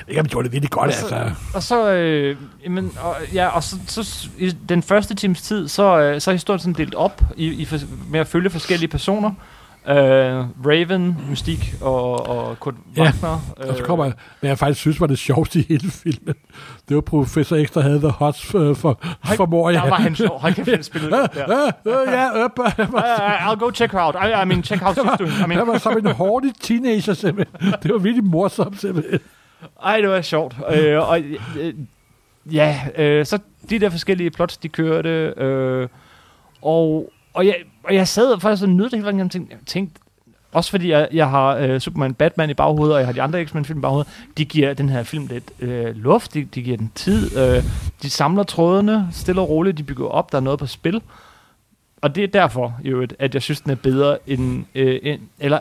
Speaker 2: Jamen, det gjorde det virkelig godt,
Speaker 1: Altså,
Speaker 2: altså.
Speaker 1: Og så, øh, jamen, og, ja, og så, så i den første times tid, så, øh, så er historien sådan delt op i, i for, med at følge forskellige personer. Øh, Raven, Mystik og, og Kurt
Speaker 2: Ja,
Speaker 1: Wagner. øh,
Speaker 2: Og så kommer, hvad jeg faktisk synes var det sjoveste i hele filmen, det var professor X, der havde The Hots for, for, for mor,
Speaker 1: Der
Speaker 2: ja.
Speaker 1: var han sjov. Hold kæft, han spillede godt der.
Speaker 2: Øh, øh, ja, øh, bare- han var,
Speaker 1: Uh, I'll go check her out. I, I mean, check
Speaker 2: <laughs>
Speaker 1: how she's doing. I mean,
Speaker 2: han var som en hårdig teenager, simpelthen. Det var virkelig morsomt, simpelthen.
Speaker 1: Ej, det var sjovt. Øh, og, øh, ja, øh, så de der forskellige plots, de kørte, øh, og, og, jeg, og jeg sad faktisk og nød det hele vejen igennem, tænkte, jeg tænkte, også fordi jeg, jeg har øh, Superman Batman i baghovedet, og jeg har de andre X-Men-film i baghovedet, de giver den her film lidt øh, luft, de, de giver den tid, øh, de samler trådene stille og roligt, de bygger op, der er noget på spil. Og det er derfor, i øvrigt, at jeg synes, den er bedre end, øh, end eller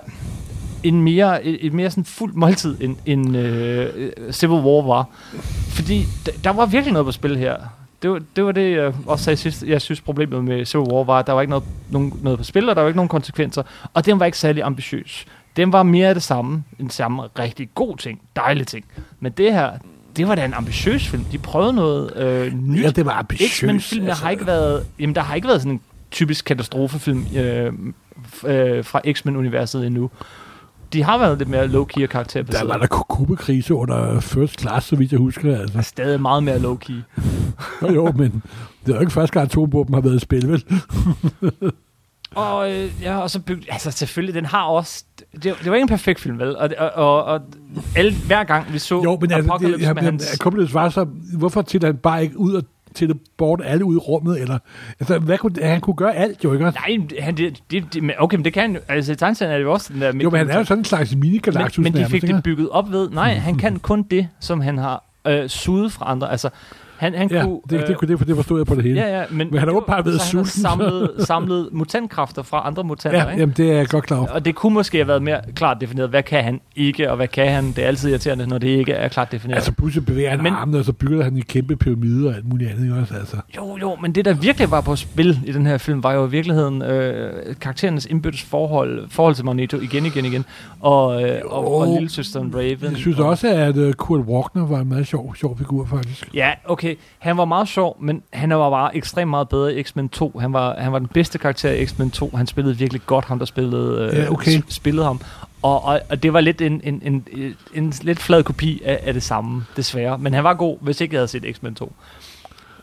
Speaker 1: en mere, et et mere sådan fuld måltid, end, end øh, øh, Civil War var. Fordi d- der var virkelig noget på spil her. Det, det var, det var det, jeg også sagde sidst. Jeg synes, problemet med Civil War var, at der var ikke noget, nogen, noget på spil, og der var ikke nogen konsekvenser. Og den var ikke særlig ambitiøs. Den var mere af det samme. En samme rigtig god ting. Dejlig ting. Men det her, det var da en ambitiøs film. De prøvede noget øh, nyt.
Speaker 2: Ja, det var altså. ambitiøst.
Speaker 1: X-Men-film, der har ikke været, jamen, der har ikke været sådan en typisk katastrofefilm øh, f- øh, fra X-Men-universet endnu. De har været lidt mere low-key og
Speaker 2: Der
Speaker 1: karakterbaseret.
Speaker 2: var der kubekrise under first class, så vidt jeg husker. Altså.
Speaker 1: stadig meget mere low-key.
Speaker 2: Nå jo, men det er jo ikke første gang, atombomben har været i spil, vel?
Speaker 1: Og, øh, ja, og så bygge, altså selvfølgelig, den har også, det, det var ikke en perfekt film, vel? Og, og, og, og alle, hver gang vi så
Speaker 2: Jo, men altså, det,
Speaker 1: Apocalypse
Speaker 2: jeg,
Speaker 1: med
Speaker 2: jeg, jeg,
Speaker 1: hans,
Speaker 2: Apocalypse var så, hvorfor til han bare ikke ud og til bort alle ud i rummet, eller, altså, hvad kunne, han kunne gøre alt, jo ikke? også?
Speaker 1: nej, men han, det, det, det, men okay, men det kan han jo, altså i tegneserien er det jo også den der,
Speaker 2: Jo, men han er jo sådan en slags mini-galactus
Speaker 1: men, men de
Speaker 2: nærmest,
Speaker 1: fik
Speaker 2: ikke?
Speaker 1: det bygget op ved, nej, han kan kun det, som han har øh, suget fra andre, altså han, han
Speaker 2: Ja,
Speaker 1: kunne,
Speaker 2: det, det,
Speaker 1: øh,
Speaker 2: kunne det, for det forstod jeg på det hele.
Speaker 1: Ja, ja, men,
Speaker 2: han har
Speaker 1: det var-
Speaker 2: åbenbart været
Speaker 1: så han har
Speaker 2: sulten. <laughs>
Speaker 1: samlet, samlet mutantkræfter fra andre mutanter,
Speaker 2: ja
Speaker 1: ikke?
Speaker 2: jamen, det er jeg godt klar over.
Speaker 1: Og det kunne måske have været mere klart defineret, hvad kan han ikke, og hvad kan han. Det er altid irriterende, når det ikke er klart defineret.
Speaker 2: Altså, pludselig bevæger han
Speaker 1: Men-
Speaker 2: men, armene, og så bygger han en kæmpe pyramide og alt muligt andet, ikke også? Altså.
Speaker 1: Jo, jo, men det der virkelig var på spil i den her film, var jo i virkeligheden øh, karakterernes indbyrdes forhold, forhold til Magneto igen, igen, igen. Og, øh, og, og
Speaker 2: Jo.
Speaker 1: lillesøsteren Raven.
Speaker 2: Jeg synes
Speaker 1: og,
Speaker 2: også, at øh, Kurt Wagner var en meget sjov, sjov figur, faktisk.
Speaker 1: Ja, okay. Han var meget sjov, men han var bare ekstremt meget bedre i X-Men 2. Han var, han var den bedste karakter i X-Men 2. Han spillede virkelig godt, ham der spillede, øh,
Speaker 2: Ja, okay.
Speaker 1: s- spillede ham. Og, og, og det var lidt en, en, en, en, en lidt flad kopi af, af det samme, desværre. Men han var god, hvis ikke jeg havde set X-Men 2.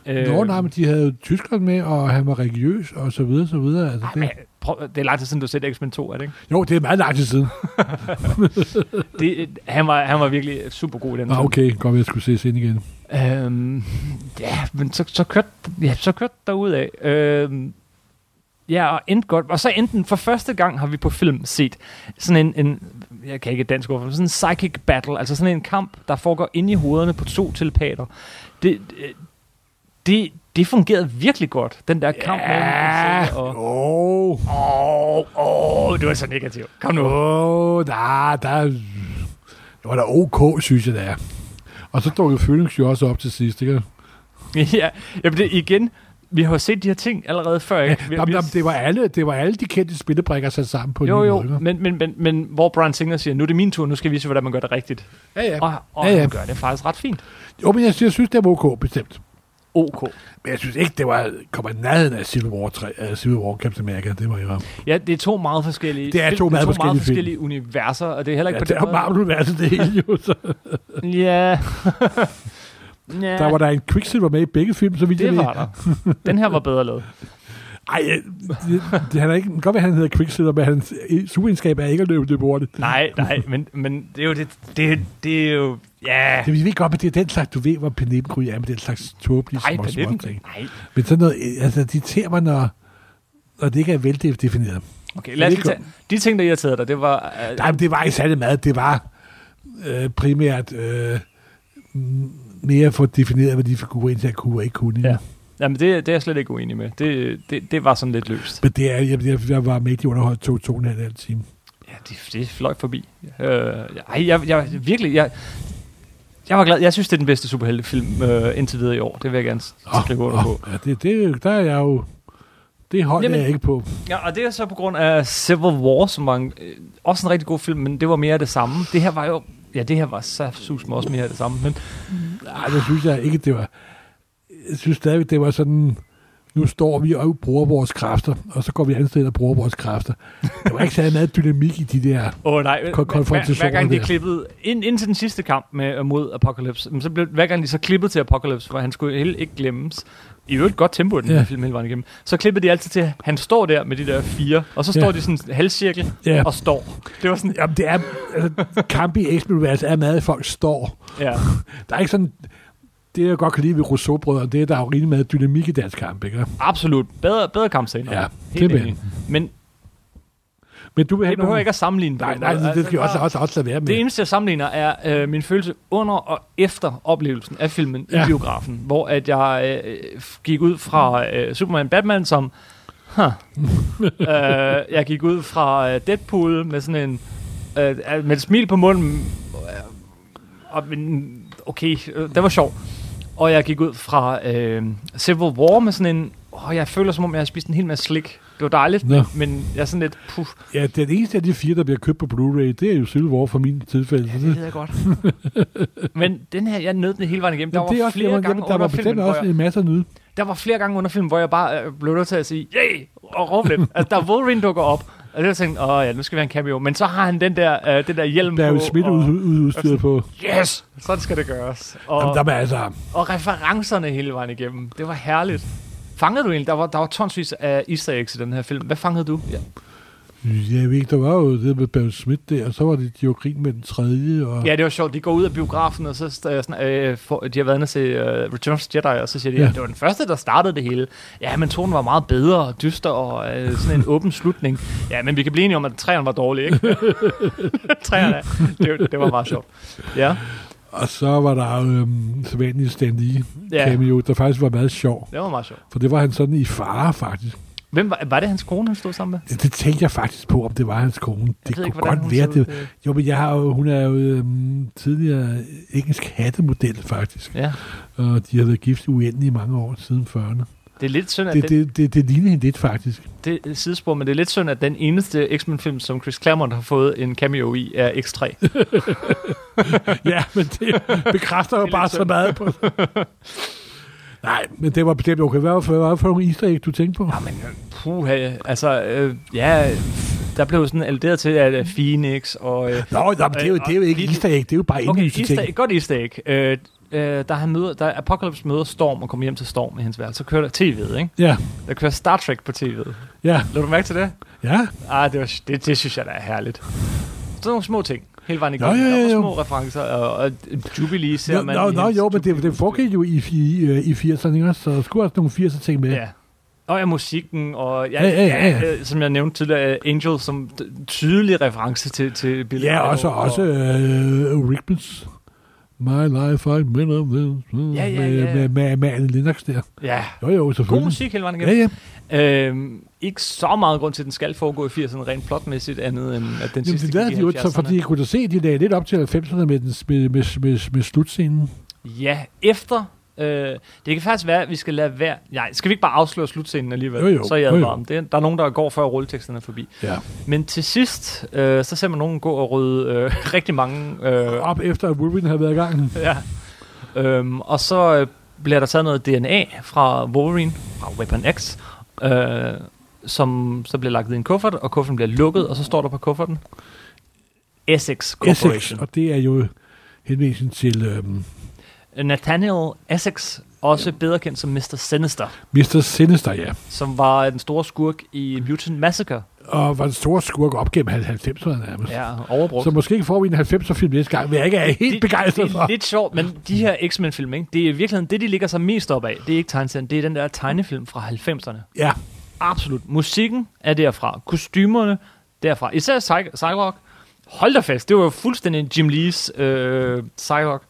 Speaker 1: Øh,
Speaker 2: Nå, nej, men de havde jo tyskeren med, og han var religiøs, og så videre, så videre. Altså,
Speaker 1: ej,
Speaker 2: det,
Speaker 1: men Prøv, det er lang tid siden, du har set X-Men 2, er det ikke?
Speaker 2: jo, det er meget lang tid siden.
Speaker 1: Det, han, var, han var virkelig super god i den
Speaker 2: Nå, okay, godt, jeg skulle ses ind igen.
Speaker 1: film. Øhm, ja, men så, så kørte ja, så kørte derudad. Øhm, ja, og endte godt. Og så enten for første gang har vi på film set sådan en, en jeg kan ikke et dansk ord, for det, sådan en psychic battle, altså sådan en kamp, der foregår inde i hovederne på to telepater. Det, det- det, det fungerede virkelig godt, den der kamp mellem Giselle og...
Speaker 2: Åh,
Speaker 1: Åh, oh, oh, det var så negativt. Kom nu.
Speaker 2: åh, nej, der er- det var da ok, synes jeg, det er. Og så dukkede Phoenix jo også op til sidst, ikke?
Speaker 1: <laughs> ja, jamen det, igen, vi har jo set de her ting allerede før, ikke? Vi,
Speaker 2: Jamen,
Speaker 1: vi,
Speaker 2: jamen, det, var alle, det var alle de kendte spillebrikker sat sammen på en
Speaker 1: jo,
Speaker 2: ny
Speaker 1: jo,
Speaker 2: måde, ikke?
Speaker 1: men, men, men, men hvor Brian Singer siger, nu er det min tur, nu skal jeg vise, hvordan man gør det rigtigt.
Speaker 2: Ja, ja.
Speaker 1: Og, og
Speaker 2: Ja,
Speaker 1: ja,
Speaker 2: ja.
Speaker 1: han gør det faktisk ret fint.
Speaker 2: Jo, men jeg, jeg synes, det var ok, bestemt.
Speaker 1: OK.
Speaker 2: Men jeg synes ikke, det var, kommer i nærheden af Civil War, 3, uh, Civil War Captain America, det var jo.
Speaker 1: Ja, det er to meget forskellige,
Speaker 2: Det er
Speaker 1: film-
Speaker 2: to meget
Speaker 1: to meget
Speaker 2: forskellige
Speaker 1: forskellige universer, og det er heller
Speaker 2: Ja,
Speaker 1: ikke
Speaker 2: det
Speaker 1: på
Speaker 2: var
Speaker 1: den
Speaker 2: Marvel-universet det hele jo. Så.
Speaker 1: måde. Ja. <laughs> ja.
Speaker 2: Der var der en Quicksilver med i begge film, så vidt jeg
Speaker 1: det
Speaker 2: ved.
Speaker 1: var der. Den her var bedre lavet.
Speaker 2: Ej, øh, det, det, han er ikke, godt ved, at han hedder Quicksilver, men hans øh, superegenskab er ikke at løbe det hurtigt.
Speaker 1: Nej, nej, men, men det er jo det, det, det er jo, ja.
Speaker 2: Det Altså, vi ved godt, men det er den slags, du ved, hvor Penelope er med den slags tåbelige
Speaker 1: Nej,
Speaker 2: små, små ting.
Speaker 1: nej.
Speaker 2: Men sådan noget, øh, altså, de irriterer mig, når, når det ikke er veldefineret.
Speaker 1: Okay, lad os
Speaker 2: Det
Speaker 1: lige
Speaker 2: går-
Speaker 1: tage. De ting, der irriterede dig, det var... øh,
Speaker 2: Nej, men det var ikke særlig meget. Det var øh, primært øh, m- mere for at definere, hvad de figurer egentlig kunne og ikke kunne.
Speaker 1: Ja. Jamen, det, det er jeg slet ikke uenig med. Det, det, det var sådan lidt løst.
Speaker 2: Men det er, jeg, jeg, jeg var med i de underholdt to, to og en halv time.
Speaker 1: Ja, det, det fløj forbi. Øh, ej, jeg, jeg, virkelig, jeg, jeg var glad. Jeg synes, det er den bedste superheltefilm øh, indtil videre i år. Det vil jeg gerne s- skrive under på.
Speaker 2: ja, det, det, der er jeg jo... Det holder
Speaker 1: Jamen-
Speaker 2: jeg ikke på.
Speaker 1: Ja, og det er så på grund af Civil War, som var en, øh, også en rigtig god film, men det var mere af det samme. Det her var jo... Ja, det her var så sus også mere af det samme. Men
Speaker 2: Nej, det synes jeg ikke, det var... Jeg synes stadigvæk, det var sådan... Nu står vi og bruger vores kræfter, og så går vi andet sted og bruger vores kræfter. Der var ikke særlig meget dynamik i de der...
Speaker 1: Åh oh, nej, hver- hver, hver
Speaker 2: konfrontationer
Speaker 1: gang de
Speaker 2: der.
Speaker 1: klippede ind, ind til den sidste kamp med, øh, mod Apocalypse, men så blev, hver gang de så klippede til Apocalypse, hvor han skulle helt ikke glemmes, i øvrigt godt tempo i den
Speaker 2: Ja.
Speaker 1: yeah. film hele vejen igennem, så klippede de altid til, at han står der med de der fire, og så står
Speaker 2: Ja.
Speaker 1: de sådan en halvcirkel
Speaker 2: Ja.
Speaker 1: og står. Det var sådan,
Speaker 2: Jamen, det er... Altså, kamp i x er meget, at folk står.
Speaker 1: ja.
Speaker 2: Der er ikke sådan... Det, jeg godt kan lide ved Rousseau-brødrene, det er, at der er jo rigtig meget dynamik i deres kamp, ikke?
Speaker 1: absolut bedre, bedre kampscener.
Speaker 2: Ja,
Speaker 1: Helt
Speaker 2: det er
Speaker 1: enig. Men
Speaker 2: Men du vil have
Speaker 1: det behøver
Speaker 2: nogle-
Speaker 1: ikke at sammenligne. på
Speaker 2: Nej,
Speaker 1: den
Speaker 2: nej,
Speaker 1: måde.
Speaker 2: det, det skal jeg
Speaker 1: Altså,
Speaker 2: også, også, også lade være med.
Speaker 1: Det eneste, jeg sammenligner, er øh, min følelse under og efter oplevelsen af filmen ja.
Speaker 2: Ja.
Speaker 1: i biografen, hvor at jeg øh, f- gik ud fra øh, Superman Batman som... Huh. øh, jeg gik ud fra øh, Deadpool med sådan en... Øh, øh, med et smil på munden. Øh, og, men, okay, øh, det var sjovt. Og jeg gik ud fra øh, Civil War med sådan en... Åh, jeg føler, som om jeg har spist en hel masse slik. Det var dejligt,
Speaker 2: Nå.
Speaker 1: men jeg er sådan lidt... Puh,
Speaker 2: Ja, den eneste af de fire, der bliver købt på Blu-ray, det er jo Civil War for min tilfælde. Ja,
Speaker 1: det ved jeg godt.
Speaker 2: <laughs>
Speaker 1: men den her, jeg nød den hele vejen igennem. Der var
Speaker 2: det er
Speaker 1: flere
Speaker 2: jamen,
Speaker 1: gange
Speaker 2: jamen, der
Speaker 1: under
Speaker 2: var
Speaker 1: filmen,
Speaker 2: bestemt
Speaker 1: hvor
Speaker 2: også
Speaker 1: jeg,
Speaker 2: en masse at nyde.
Speaker 1: der var flere gange under filmen, hvor jeg bare øh, blev nødt til at sige, yay, og råbe lidt. altså, der er Wolverine dukker op, og det var sådan, åh ja, nu skal vi have en cameo. Men så har han den der, øh, den der hjelm
Speaker 2: Der er
Speaker 1: på.
Speaker 2: jo smidt
Speaker 1: og, Altså,
Speaker 2: ud, ud, udstyret på.
Speaker 1: Yes, sådan skal det gøres. Og,
Speaker 2: Jamen, der var altså...
Speaker 1: og referencerne hele vejen igennem. Det var herligt. Fangede du egentlig? Der var, der var tonsvis af easter eggs i den her film. Hvad fangede du? Ja,
Speaker 2: Jeg ved ikke, der var jo det med Barry Smith der, og så var det de jo grin med den tredje, og
Speaker 1: ja det var sjovt. De går ud af biografen, og så øh, sådan, øh, for, de har været inde og se øh, Return of the Jedi, og så siger de, ja.
Speaker 2: Ja.
Speaker 1: at det var den første, der startede det hele. Ja, men tonen var meget bedre og dyster, og øh, sådan en åben slutning. Ja, men vi kan blive enige om, at træerne var dårlige, ikke? <laughs> træerne, det, det var meget sjovt. Ja,
Speaker 2: og så var der jo øhm, sædvanlig Stan Lee
Speaker 1: Ja.
Speaker 2: cameo, der faktisk var meget sjov.
Speaker 1: det var meget sjovt.
Speaker 2: For det var han sådan i fare, faktisk.
Speaker 1: Hvem var, var det hans kone, han stod sammen med?
Speaker 2: Det, det tænkte jeg faktisk på, om det var hans kone. Det kunne
Speaker 1: ved ikke, hvordan hun
Speaker 2: godt være
Speaker 1: så ud.
Speaker 2: det. Jo, men jeg har jo, hun er jo øhm, tidligere engelsk hattemodel, faktisk.
Speaker 1: Ja,
Speaker 2: Og de har været gift i uendelig mange år siden 40'erne.
Speaker 1: det er lidt synd, at
Speaker 2: Det, det, det, det ligner hende lidt, faktisk.
Speaker 1: det er sidespor, men det er lidt synd, at den eneste X-Men-film, som Chris Claremont har fået en cameo i, er X3.
Speaker 2: ja, men det bekræfter jo
Speaker 1: Det er
Speaker 2: bare
Speaker 1: lidt
Speaker 2: så
Speaker 1: synd.
Speaker 2: meget på Nej, men det var bestemt okay. Hvad var, hvad var det for nogle easter egg, du tænkte på?
Speaker 1: Jamen, puh, altså, øh, ja, der blev sådan alluderet til, at øh, Phoenix og... Øh,
Speaker 2: Nå, nå men det, er jo, det er jo ikke
Speaker 1: Øh,
Speaker 2: easter egg, det er jo bare
Speaker 1: okay,
Speaker 2: indlysende
Speaker 1: Easter,
Speaker 2: ting.
Speaker 1: egg, godt Easter egg. Øh, øh, der, han møder, der Apocalypse møder Storm og kommer hjem til Storm i hans værelse. Så kører der tv'et, ikke?
Speaker 2: Ja,
Speaker 1: Der kører Star Trek på tv'et.
Speaker 2: ja,
Speaker 1: Lå du mærke til det?
Speaker 2: ja.
Speaker 1: Ah, det, var, det, det synes jeg, der er herligt. Sådan nogle små ting. Hele vejen
Speaker 2: Nå,
Speaker 1: igennem.
Speaker 2: ja, ja,
Speaker 1: Der var
Speaker 2: jo.
Speaker 1: små referencer, og, og Jubilee ser
Speaker 2: Nå,
Speaker 1: man...
Speaker 2: nå,
Speaker 1: i
Speaker 2: nå
Speaker 1: hans
Speaker 2: jo, men det,
Speaker 1: Jubilee-
Speaker 2: det foregik jo i, i, øh, i 80'erne, ikke også? så der skulle også nogle 80'er ting med.
Speaker 1: Ja. Og ja, musikken, og ja,
Speaker 2: Ja, ja, ja, ja.
Speaker 1: øh, som jeg nævnte tidligere, øh, Angel som t- tydelig reference til, til Billy
Speaker 2: Ja,
Speaker 1: Idol,
Speaker 2: også,
Speaker 1: og,
Speaker 2: også øh, Rickmans My Life, I Men of Them,
Speaker 1: Ja, ja,
Speaker 2: med,
Speaker 1: ja.
Speaker 2: Med, med, med Anne Lennox der.
Speaker 1: Ja,
Speaker 2: Jo, jo,
Speaker 1: god
Speaker 2: selvfølgelig.
Speaker 1: musik hele vejen
Speaker 2: Ja,
Speaker 1: igennem.
Speaker 2: ja.
Speaker 1: Ja, ja. Øhm, ikke så meget grund til, at den skal foregå i 80'erne rent plotmæssigt, andet end at den
Speaker 2: Jamen,
Speaker 1: sidste
Speaker 2: det lavede
Speaker 1: gik i
Speaker 2: de jo, ikke, så,
Speaker 1: 70'erne.
Speaker 2: fordi jeg kunne da se, at de lagde lidt op til 90'erne med, den, med, med, med, med slutscenen.
Speaker 1: Ja, efter... Øh, det kan faktisk være, at vi skal lade være... Nej, skal vi ikke bare afsløre slutscenen alligevel?
Speaker 2: Jo, jo,
Speaker 1: så er jeg
Speaker 2: jo, jo.
Speaker 1: om det. Der er nogen, der går før rulleteksterne er forbi.
Speaker 2: Ja.
Speaker 1: Men til sidst, øh, så ser man nogen gå og rydde øh, <laughs> rigtig mange... Øh,
Speaker 2: Op efter, at Wolverine havde været i gang.
Speaker 1: Ja. Øhm, og så øh, bliver der taget noget DNA fra Wolverine, fra Weapon X, øh, som så bliver lagt i en kuffert, og kufferten bliver lukket, og så står der på kufferten Essex
Speaker 2: Essex,
Speaker 1: Corporation.
Speaker 2: og det er jo henvisning til øhm,
Speaker 1: Essex. Nathaniel Essex, også bedre kendt som Mr. Sinister,
Speaker 2: Mr. Sinister, ja.
Speaker 1: som var den store skurk i Mutant Massacre.
Speaker 2: Og var en stor skurk op gennem 90'erne nærmest. Ja.
Speaker 1: Ja, overbrugt.
Speaker 2: Så måske får vi en 90'er-film næste gang, men jeg ikke er helt begejstret
Speaker 1: det, det
Speaker 2: for.
Speaker 1: er lidt sjovt, men de her X-Men-film, ikke? det er i virkeligheden det, de ligger sig mest op af. Det er ikke tegneserien, det er den der tegnefilm fra 90'erne.
Speaker 2: Ja,
Speaker 1: Absolut. Musikken er derfra. Kostymerne derfra. Især Psy- Psylocke. Hold da fast, det var jo fuldstændig Jim Lees øh, Psylocke.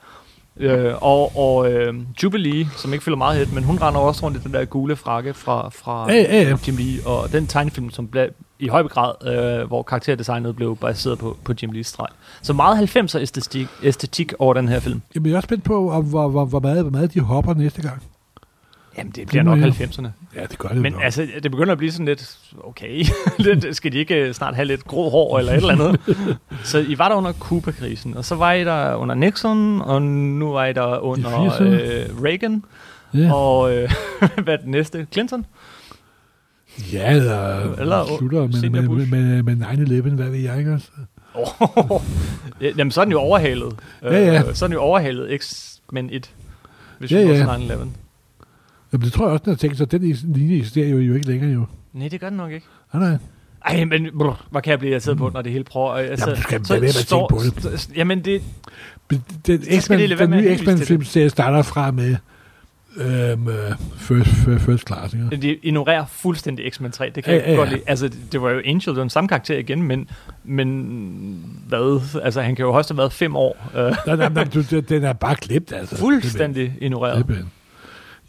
Speaker 1: Øh, og og øh, Jubilee, som ikke føler meget hit, men hun render også rundt i den der gule frakke fra, fra
Speaker 2: Ja, ja, ja.
Speaker 1: Jim Lee, og den tegnefilm, som blev i høj grad, øh, hvor karakterdesignet blev baseret på, på Jim Lees streg. Så meget 90'er æstetik, æstetik over den her film.
Speaker 2: Jamen, jeg er også spændt på, om, hvor, hvor, hvor, meget, hvor meget de hopper næste gang.
Speaker 1: Jamen, det bliver nok
Speaker 2: Ja.
Speaker 1: 90'erne.
Speaker 2: Ja, det gør det
Speaker 1: Men
Speaker 2: jo nok.
Speaker 1: altså, det begynder at blive sådan lidt, okay, <laughs> lidt, skal de ikke øh, snart have lidt grå hår eller et eller andet?
Speaker 2: <laughs>
Speaker 1: så I var der under Cuba-krisen, og så var I der under Nixon, og nu var I der under
Speaker 2: 80'erne.
Speaker 1: øh, Reagan,
Speaker 2: ja.
Speaker 1: og øh, <laughs> hvad er det næste? Clinton?
Speaker 2: ja, eller,
Speaker 1: eller-
Speaker 2: eller slutter med,
Speaker 1: Senior
Speaker 2: med,
Speaker 1: Bush.
Speaker 2: med, med, med 9-11, hvad ved jeg ikke også?
Speaker 1: Oh, jamen, så er den jo overhalet. Øh,
Speaker 2: Ja, ja.
Speaker 1: Så er den jo overhalet X-Men 1, hvis
Speaker 2: Ja,
Speaker 1: vi
Speaker 2: ja.
Speaker 1: går til 9-11.
Speaker 2: Jamen, det tror jeg også, den har tænkt sig. Den is- linje eksisterer jo, jo ikke længere, jo.
Speaker 1: Nej, det gør den nok ikke.
Speaker 2: Nej, nej.
Speaker 1: Ej, men brr, hvor kan jeg blive irriteret på, når det hele prøver... Altså,
Speaker 2: Jamen, du skal lade være med at tænke
Speaker 1: står-
Speaker 2: på det.
Speaker 1: st- st- jamen, det,
Speaker 2: Men Den,
Speaker 1: skal
Speaker 2: X-Men,
Speaker 1: de lade være
Speaker 2: den
Speaker 1: med at
Speaker 2: nye
Speaker 1: henvise til det.
Speaker 2: X-Men-filmserie starter fra med øhm, øh, first, first, first Class, ikke?
Speaker 1: De ignorerer fuldstændig X-Men 3. Det kan ja, jeg
Speaker 2: Ja, ja,
Speaker 1: godt
Speaker 2: ja.
Speaker 1: lide. Altså, det var jo Angel, det var den samme karakter igen, men, men hvad? Altså, han kan jo højst have været fem år. Øh, <laughs>
Speaker 2: Nej, nej, nej, du, den- den er bare klippet, altså.
Speaker 1: fuldstændig ignoreret.
Speaker 2: Simpelthen.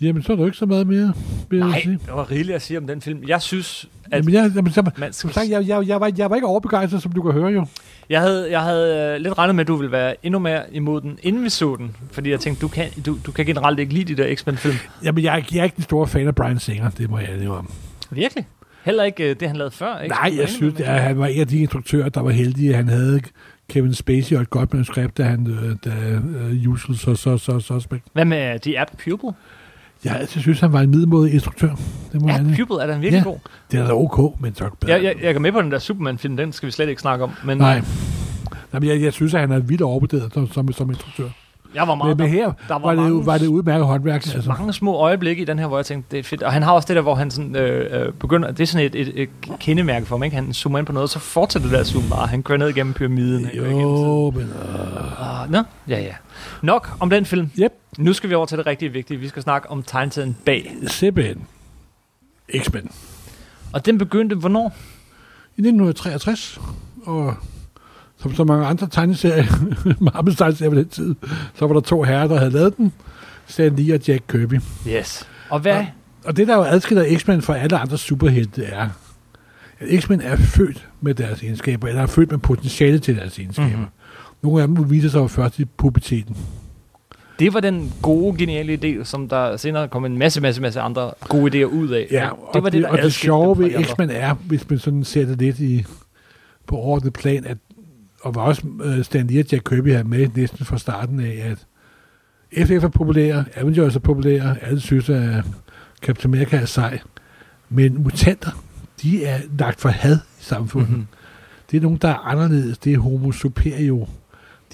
Speaker 2: Jamen, så er der jo ikke så meget mere, vil jeg
Speaker 1: Nej,
Speaker 2: sige.
Speaker 1: der var rigeligt at sige om den film. Jeg synes, at
Speaker 2: Jamen, jeg, jamen, som,
Speaker 1: man
Speaker 2: som
Speaker 1: skal
Speaker 2: sagt, jeg, jeg, jeg, var, jeg var ikke overbegejstret, som du kan høre jo.
Speaker 1: Jeg havde, jeg havde øh, lidt regnet med, at du ville være endnu mere imod den, inden vi så den. Fordi jeg tænkte, du kan, du, du kan generelt ikke lide de der X-Men-film.
Speaker 2: Jamen, jeg, er ikke- jeg er ikke den store fan af Brian Singer, det må jeg indrømme.
Speaker 1: Virkelig? Heller ikke øh, det, han lavede før? Ikke?
Speaker 2: Nej, jeg synes, at
Speaker 1: altså-
Speaker 2: han var en af de instruktører, der var heldige. Han havde Kevin Spacey og et godt manuskript, da han øh, da, uh, Usual så, så, så, Suspect.
Speaker 1: Hvad med øh, The App Pupil?
Speaker 2: Jeg har altid synes, han var en middelmodig instruktør. Det må jeg
Speaker 1: App
Speaker 2: indrømme.
Speaker 1: Pupil er den virkelig
Speaker 2: Ja.
Speaker 1: god.
Speaker 2: Det er da ok, men så bedre.
Speaker 1: Jeg, jeg, jeg går med på den der Superman-film, den skal vi slet ikke snakke om. Men øh,
Speaker 2: Nej. Nej, men jeg, jeg synes, at han er vildt overvurderet som, som, som instruktør.
Speaker 1: jeg var
Speaker 2: Men,
Speaker 1: meget...
Speaker 2: men her
Speaker 1: der var
Speaker 2: var, var, det, jo-
Speaker 1: mange-
Speaker 2: var det udmærket håndværk.
Speaker 1: Altså.
Speaker 2: Altså.
Speaker 1: Mange små øjeblikke i den her, hvor jeg tænkte, det er fedt. Og han har også det der, hvor han sådan, øh, øh, begynder... Det er sådan et, et, et kendemærke for mig, ikke? Han zoomer ind på noget, og så fortsætter det der zoom bare. Han kører ned igennem pyramiden. ikke? Og igennem tiden.
Speaker 2: Jo, men... Øh.
Speaker 1: Ah, nå, ja, ja. Nok om den film.
Speaker 2: Yep.
Speaker 1: Nu skal vi over til det rigtig vigtige. Vi skal snakke om tegntiden bag.
Speaker 2: Simpelthen. X-Men.
Speaker 1: Og den begyndte hvornår?
Speaker 2: I 1963, og som så mange andre tegneserier, <laughs> Marbles tegneserier på den tid, så var der to herrer, der havde lavet den, Stan Lee og Jack Kirby.
Speaker 1: Yes. Og hvad?
Speaker 2: Ja. Og det, der jo adskiller X-Men fra alle andre superhelte, er, at X-Men er født med deres egenskaber, eller er født med potentiale til deres egenskaber.
Speaker 1: Mhm.
Speaker 2: Mm-hmm. Nogle af dem viser sig jo først i puberteten.
Speaker 1: Det var den gode, geniale idé, som der senere kom en masse, masse, masse andre gode idéer ud af.
Speaker 2: Ja,
Speaker 1: det var det, der
Speaker 2: og det
Speaker 1: adskilte
Speaker 2: sjove
Speaker 1: dem fra de
Speaker 2: ved
Speaker 1: andre.
Speaker 2: X-Men er, hvis man sådan ser det lidt i, på overordnet plan, at, og var også øh, Stan Lee og Jack Kirby her med næsten fra starten af, at FF er populære, Avengers er populære, alle synes, at Captain America er sej, men mutanter, de er lagt for had i samfundet.
Speaker 1: Mhm.
Speaker 2: Mm-hmm. Det er nogen, der er anderledes, det er homo superior.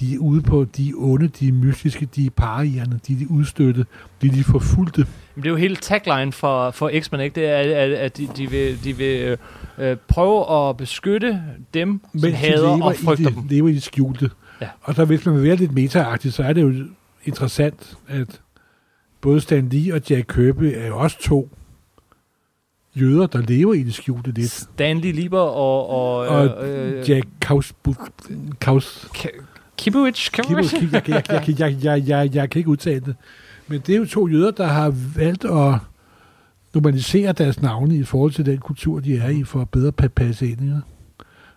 Speaker 2: De er ude på, de er onde, de er mystiske, de er parierne, de er de udstøtte, de er de forfulgte.
Speaker 1: Men det er jo hele tagline for, for X-Men, ikke? Det er, at, at de, de vil, de vil øh, øh, prøve at beskytte dem, men som
Speaker 2: mens de
Speaker 1: hader og
Speaker 2: lever, i
Speaker 1: frygter
Speaker 2: det,
Speaker 1: dem.
Speaker 2: lever i det skjulte.
Speaker 1: Ja.
Speaker 2: Ja. Og så hvis man vil være lidt metaagtig, så er det jo interessant, at både Stan Lee og Jack Kirby er jo også to jøder, der lever i det skjulte lidt.
Speaker 1: Stanley Lieber og... og,
Speaker 2: Og
Speaker 1: øh,
Speaker 2: Jack Kaus... Kaus
Speaker 1: Ka- Kibowicz, Kibowicz.
Speaker 2: Kibos, jeg, jeg, jeg, jeg, jeg, jeg, jeg, jeg kan ikke udtale det. Men det er jo to jøder, der har valgt at normalisere deres navne i forhold til den kultur, de er i, for at bedre pa- passe ind. Ikke?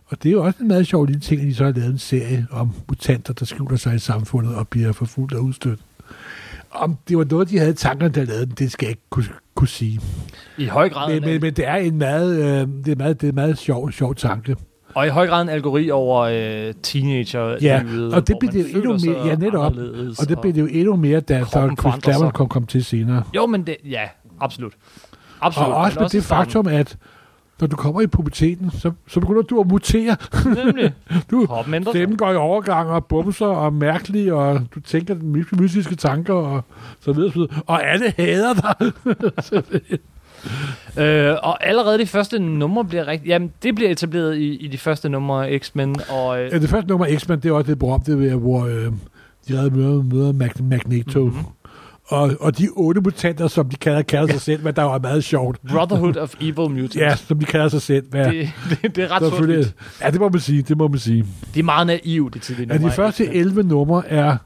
Speaker 2: Og det er jo også en meget sjov lille ting, at de så har lavet en serie om mutanter, der skjuler sig i samfundet og bliver forfulgt og udstødt. Om det var noget, de havde i tankerne, der lavede den, det skal jeg ikke kunne, kunne sige.
Speaker 1: I høj grad
Speaker 2: Men,
Speaker 1: en
Speaker 2: men, men det er en meget, øh, det er meget, det er en meget sjov, sjov tanke.
Speaker 1: Og i høj grad en algori over øh, teenager
Speaker 2: Ja, og det blev det jo endnu mere- ja, netop. Og det blev det jo endnu mere, da
Speaker 1: Kroppen
Speaker 2: så Chris
Speaker 1: forandrer sig.
Speaker 2: Claremont kom, kom til senere.
Speaker 1: Jo, men det... Ja, absolut. Absolut.
Speaker 2: Og også
Speaker 1: men
Speaker 2: med det
Speaker 1: i starten.
Speaker 2: faktum, at når du kommer i puberteten, så, så begynder du at mutere.
Speaker 1: Nemlig.
Speaker 2: <laughs> Du,
Speaker 1: Kroppen ændrer sig.
Speaker 2: stemmen går i overgang og bumser og mærkelige, og du tænker my- mystiske tanker og så videre. Så videre. Og alle hader dig.
Speaker 1: Øh, og allerede de første numre bliver rigtig... Jamen, det bliver etableret i, i de første numre af X-Men, og... Øh,
Speaker 2: Ja, det første nummer, X-Men, det er også det berømte, ved, hvor øh, de havde møder, møder Mag- Magneto.
Speaker 1: Mhm.
Speaker 2: Mm-hmm. Og, og de otte mutanter, som de kalder, kalder sig selv, hvad der var meget sjovt.
Speaker 1: Brotherhood of Evil Mutants.
Speaker 2: Ja, som de kalder sig selv. Hvad,
Speaker 1: Det, det, det er ret
Speaker 2: så selvfølgelig-
Speaker 1: sort
Speaker 2: ja, det må man sige, det må man sige.
Speaker 1: Det er meget naivt, de tidlige
Speaker 2: Ja,
Speaker 1: numre.
Speaker 2: de
Speaker 1: af
Speaker 2: første
Speaker 1: X-Men.
Speaker 2: 11 numre er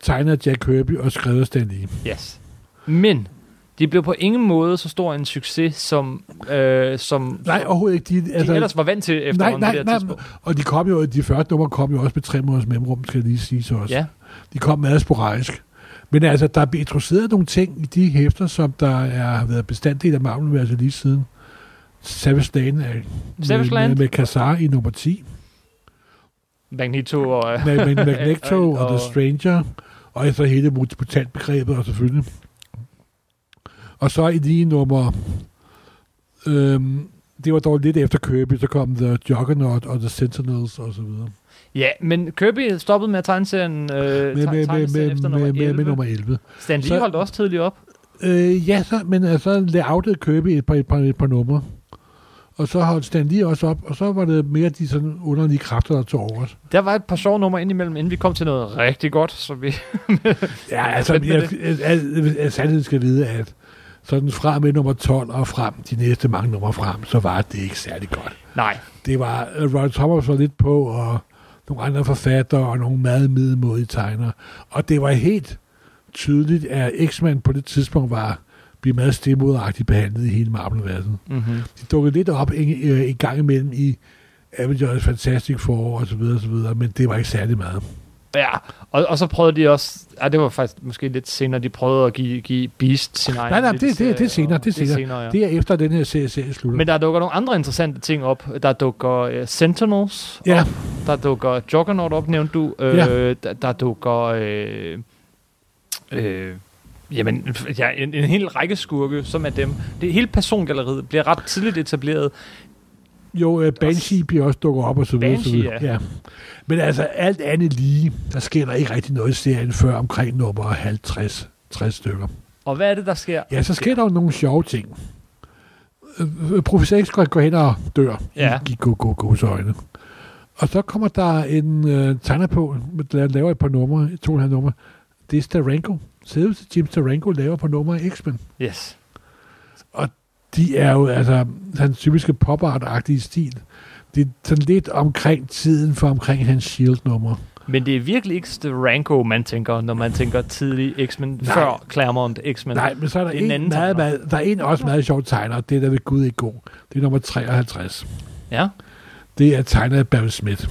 Speaker 2: tegnet af Jack Kirby og skrevet af Stan Lee.
Speaker 1: Yes. Men de blev på ingen måde så stor en succes, som, øh, som,
Speaker 2: Nej,
Speaker 1: som
Speaker 2: overhovedet ikke. De,
Speaker 1: de ellers var vant til
Speaker 2: nej,
Speaker 1: efterhånden på
Speaker 2: nej,
Speaker 1: det her
Speaker 2: nej.
Speaker 1: tidspunkt.
Speaker 2: Og de, kom jo, de første numre kom jo også med tre måneders mellemrum, skal jeg lige sige så også.
Speaker 1: Ja.
Speaker 2: De kom meget sporadisk. Men altså, der er blevet introduceret nogle ting i de hæfter, som der er, har været bestanddel af marvel altså lige siden Savage Land er
Speaker 1: Savage
Speaker 2: med,
Speaker 1: Land?
Speaker 2: med, med Kazar i nummer 10,
Speaker 1: Magneto og... Øh,
Speaker 2: med,
Speaker 1: <laughs>
Speaker 2: med Magneto
Speaker 1: Og-
Speaker 2: og, The Stranger, og så hele mutantbegrebet og selvfølgelig. Og så i lige nummer... Øhm, det var dog lidt efter Kirby, så kom The Juggernaut og The Sentinels og så videre.
Speaker 1: ja, men Kirby stoppede med at tegne serien, øh, med,
Speaker 2: med, med, med, med,
Speaker 1: efter nummer
Speaker 2: med,
Speaker 1: 11.
Speaker 2: med, med nummer 11.
Speaker 1: Stan Lee
Speaker 2: Så-
Speaker 1: holdt også tidligt op.
Speaker 2: Øh, ja, så, men øh, så layoutede Kirby et par, et par, et par numre. Og så holdt Stan Lee også op, og så var det mere de sådan underlige kræfter, der tog over. os.
Speaker 1: Der var et par sjove numre indimellem, inden vi kom til noget rigtig godt, så vi... <laughs>
Speaker 2: Ja, altså,
Speaker 1: fedt med
Speaker 2: jeg, jeg, jeg, jeg, sandheden skal vide, at sådan fra med nummer 12 og frem, de næste mange numre frem, så var det ikke særlig godt.
Speaker 1: Nej.
Speaker 2: Det var, øh, Roy Thomas var lidt på, og nogle andre forfattere, og nogle meget middelmodige tegnere. Og det var helt tydeligt, at X-Men på det tidspunkt var blive meget stedmoderagtigt behandlet i hele Marvel-universet.
Speaker 1: Mm-hmm.
Speaker 2: De dukkede lidt op en, øh, en gang imellem i Avengers Fantastic Four og så videre, og så videre, men det var ikke særlig meget.
Speaker 1: Ja, og, og så prøvede de også... Ah, det var faktisk måske lidt senere, de prøvede at give, give Beast sin egen...
Speaker 2: Nej, nej, det-
Speaker 1: lille
Speaker 2: det-
Speaker 1: serie,
Speaker 2: det er senere,
Speaker 1: og-
Speaker 2: det er senere.
Speaker 1: ja.
Speaker 2: Det er efter, at den her serie, serie slutter.
Speaker 1: Men der dukker nogle andre interessante ting op. Der dukker uh, Sentinels
Speaker 2: Ja.
Speaker 1: op. Der dukker Juggernaut op, nævnte du. Uh,
Speaker 2: Ja.
Speaker 1: der, der dukker... Øh, øh, jamen, ja, en, en hel række skurke, som er dem. Det hele persongalleriet bliver ret tidligt etableret.
Speaker 2: Jo, øh, Banshee bliver også dukket op og så videre. så
Speaker 1: Banshee,
Speaker 2: videre. ja. Men altså, alt andet lige, der sker der ikke rigtig noget i serien før omkring nummer 50 60 stykker.
Speaker 1: Og hvad er det, der sker?
Speaker 2: Ja, så sker der jo nogle sjove ting. Øh, øh, Professor X går- går hen og dør
Speaker 1: Ja.
Speaker 2: i, i go go go's øjne. Og så kommer der en øh, tegner på, der laver et par numre, to og en halv numre. Det er Staranko. Selveste Jim Staranko laver på nummer i X-Men.
Speaker 1: Yes.
Speaker 2: de er jo altså hans typiske pop art stil. Det er sådan lidt omkring tiden for omkring hans Shield-nummer.
Speaker 1: Men det er virkelig ikke Ranko, man tænker, når man tænker tidlig X-Men,
Speaker 2: Nej.
Speaker 1: før Claremont X-Men.
Speaker 2: Nej, men så er der
Speaker 1: det er en
Speaker 2: en,
Speaker 1: anden
Speaker 2: meget,
Speaker 1: tegner.
Speaker 2: meget, der er en også meget sjov tegner, og det er der ved Gud ikke god. Det er nummer 53.
Speaker 1: Ja.
Speaker 2: Det er tegnet af Barry Smith.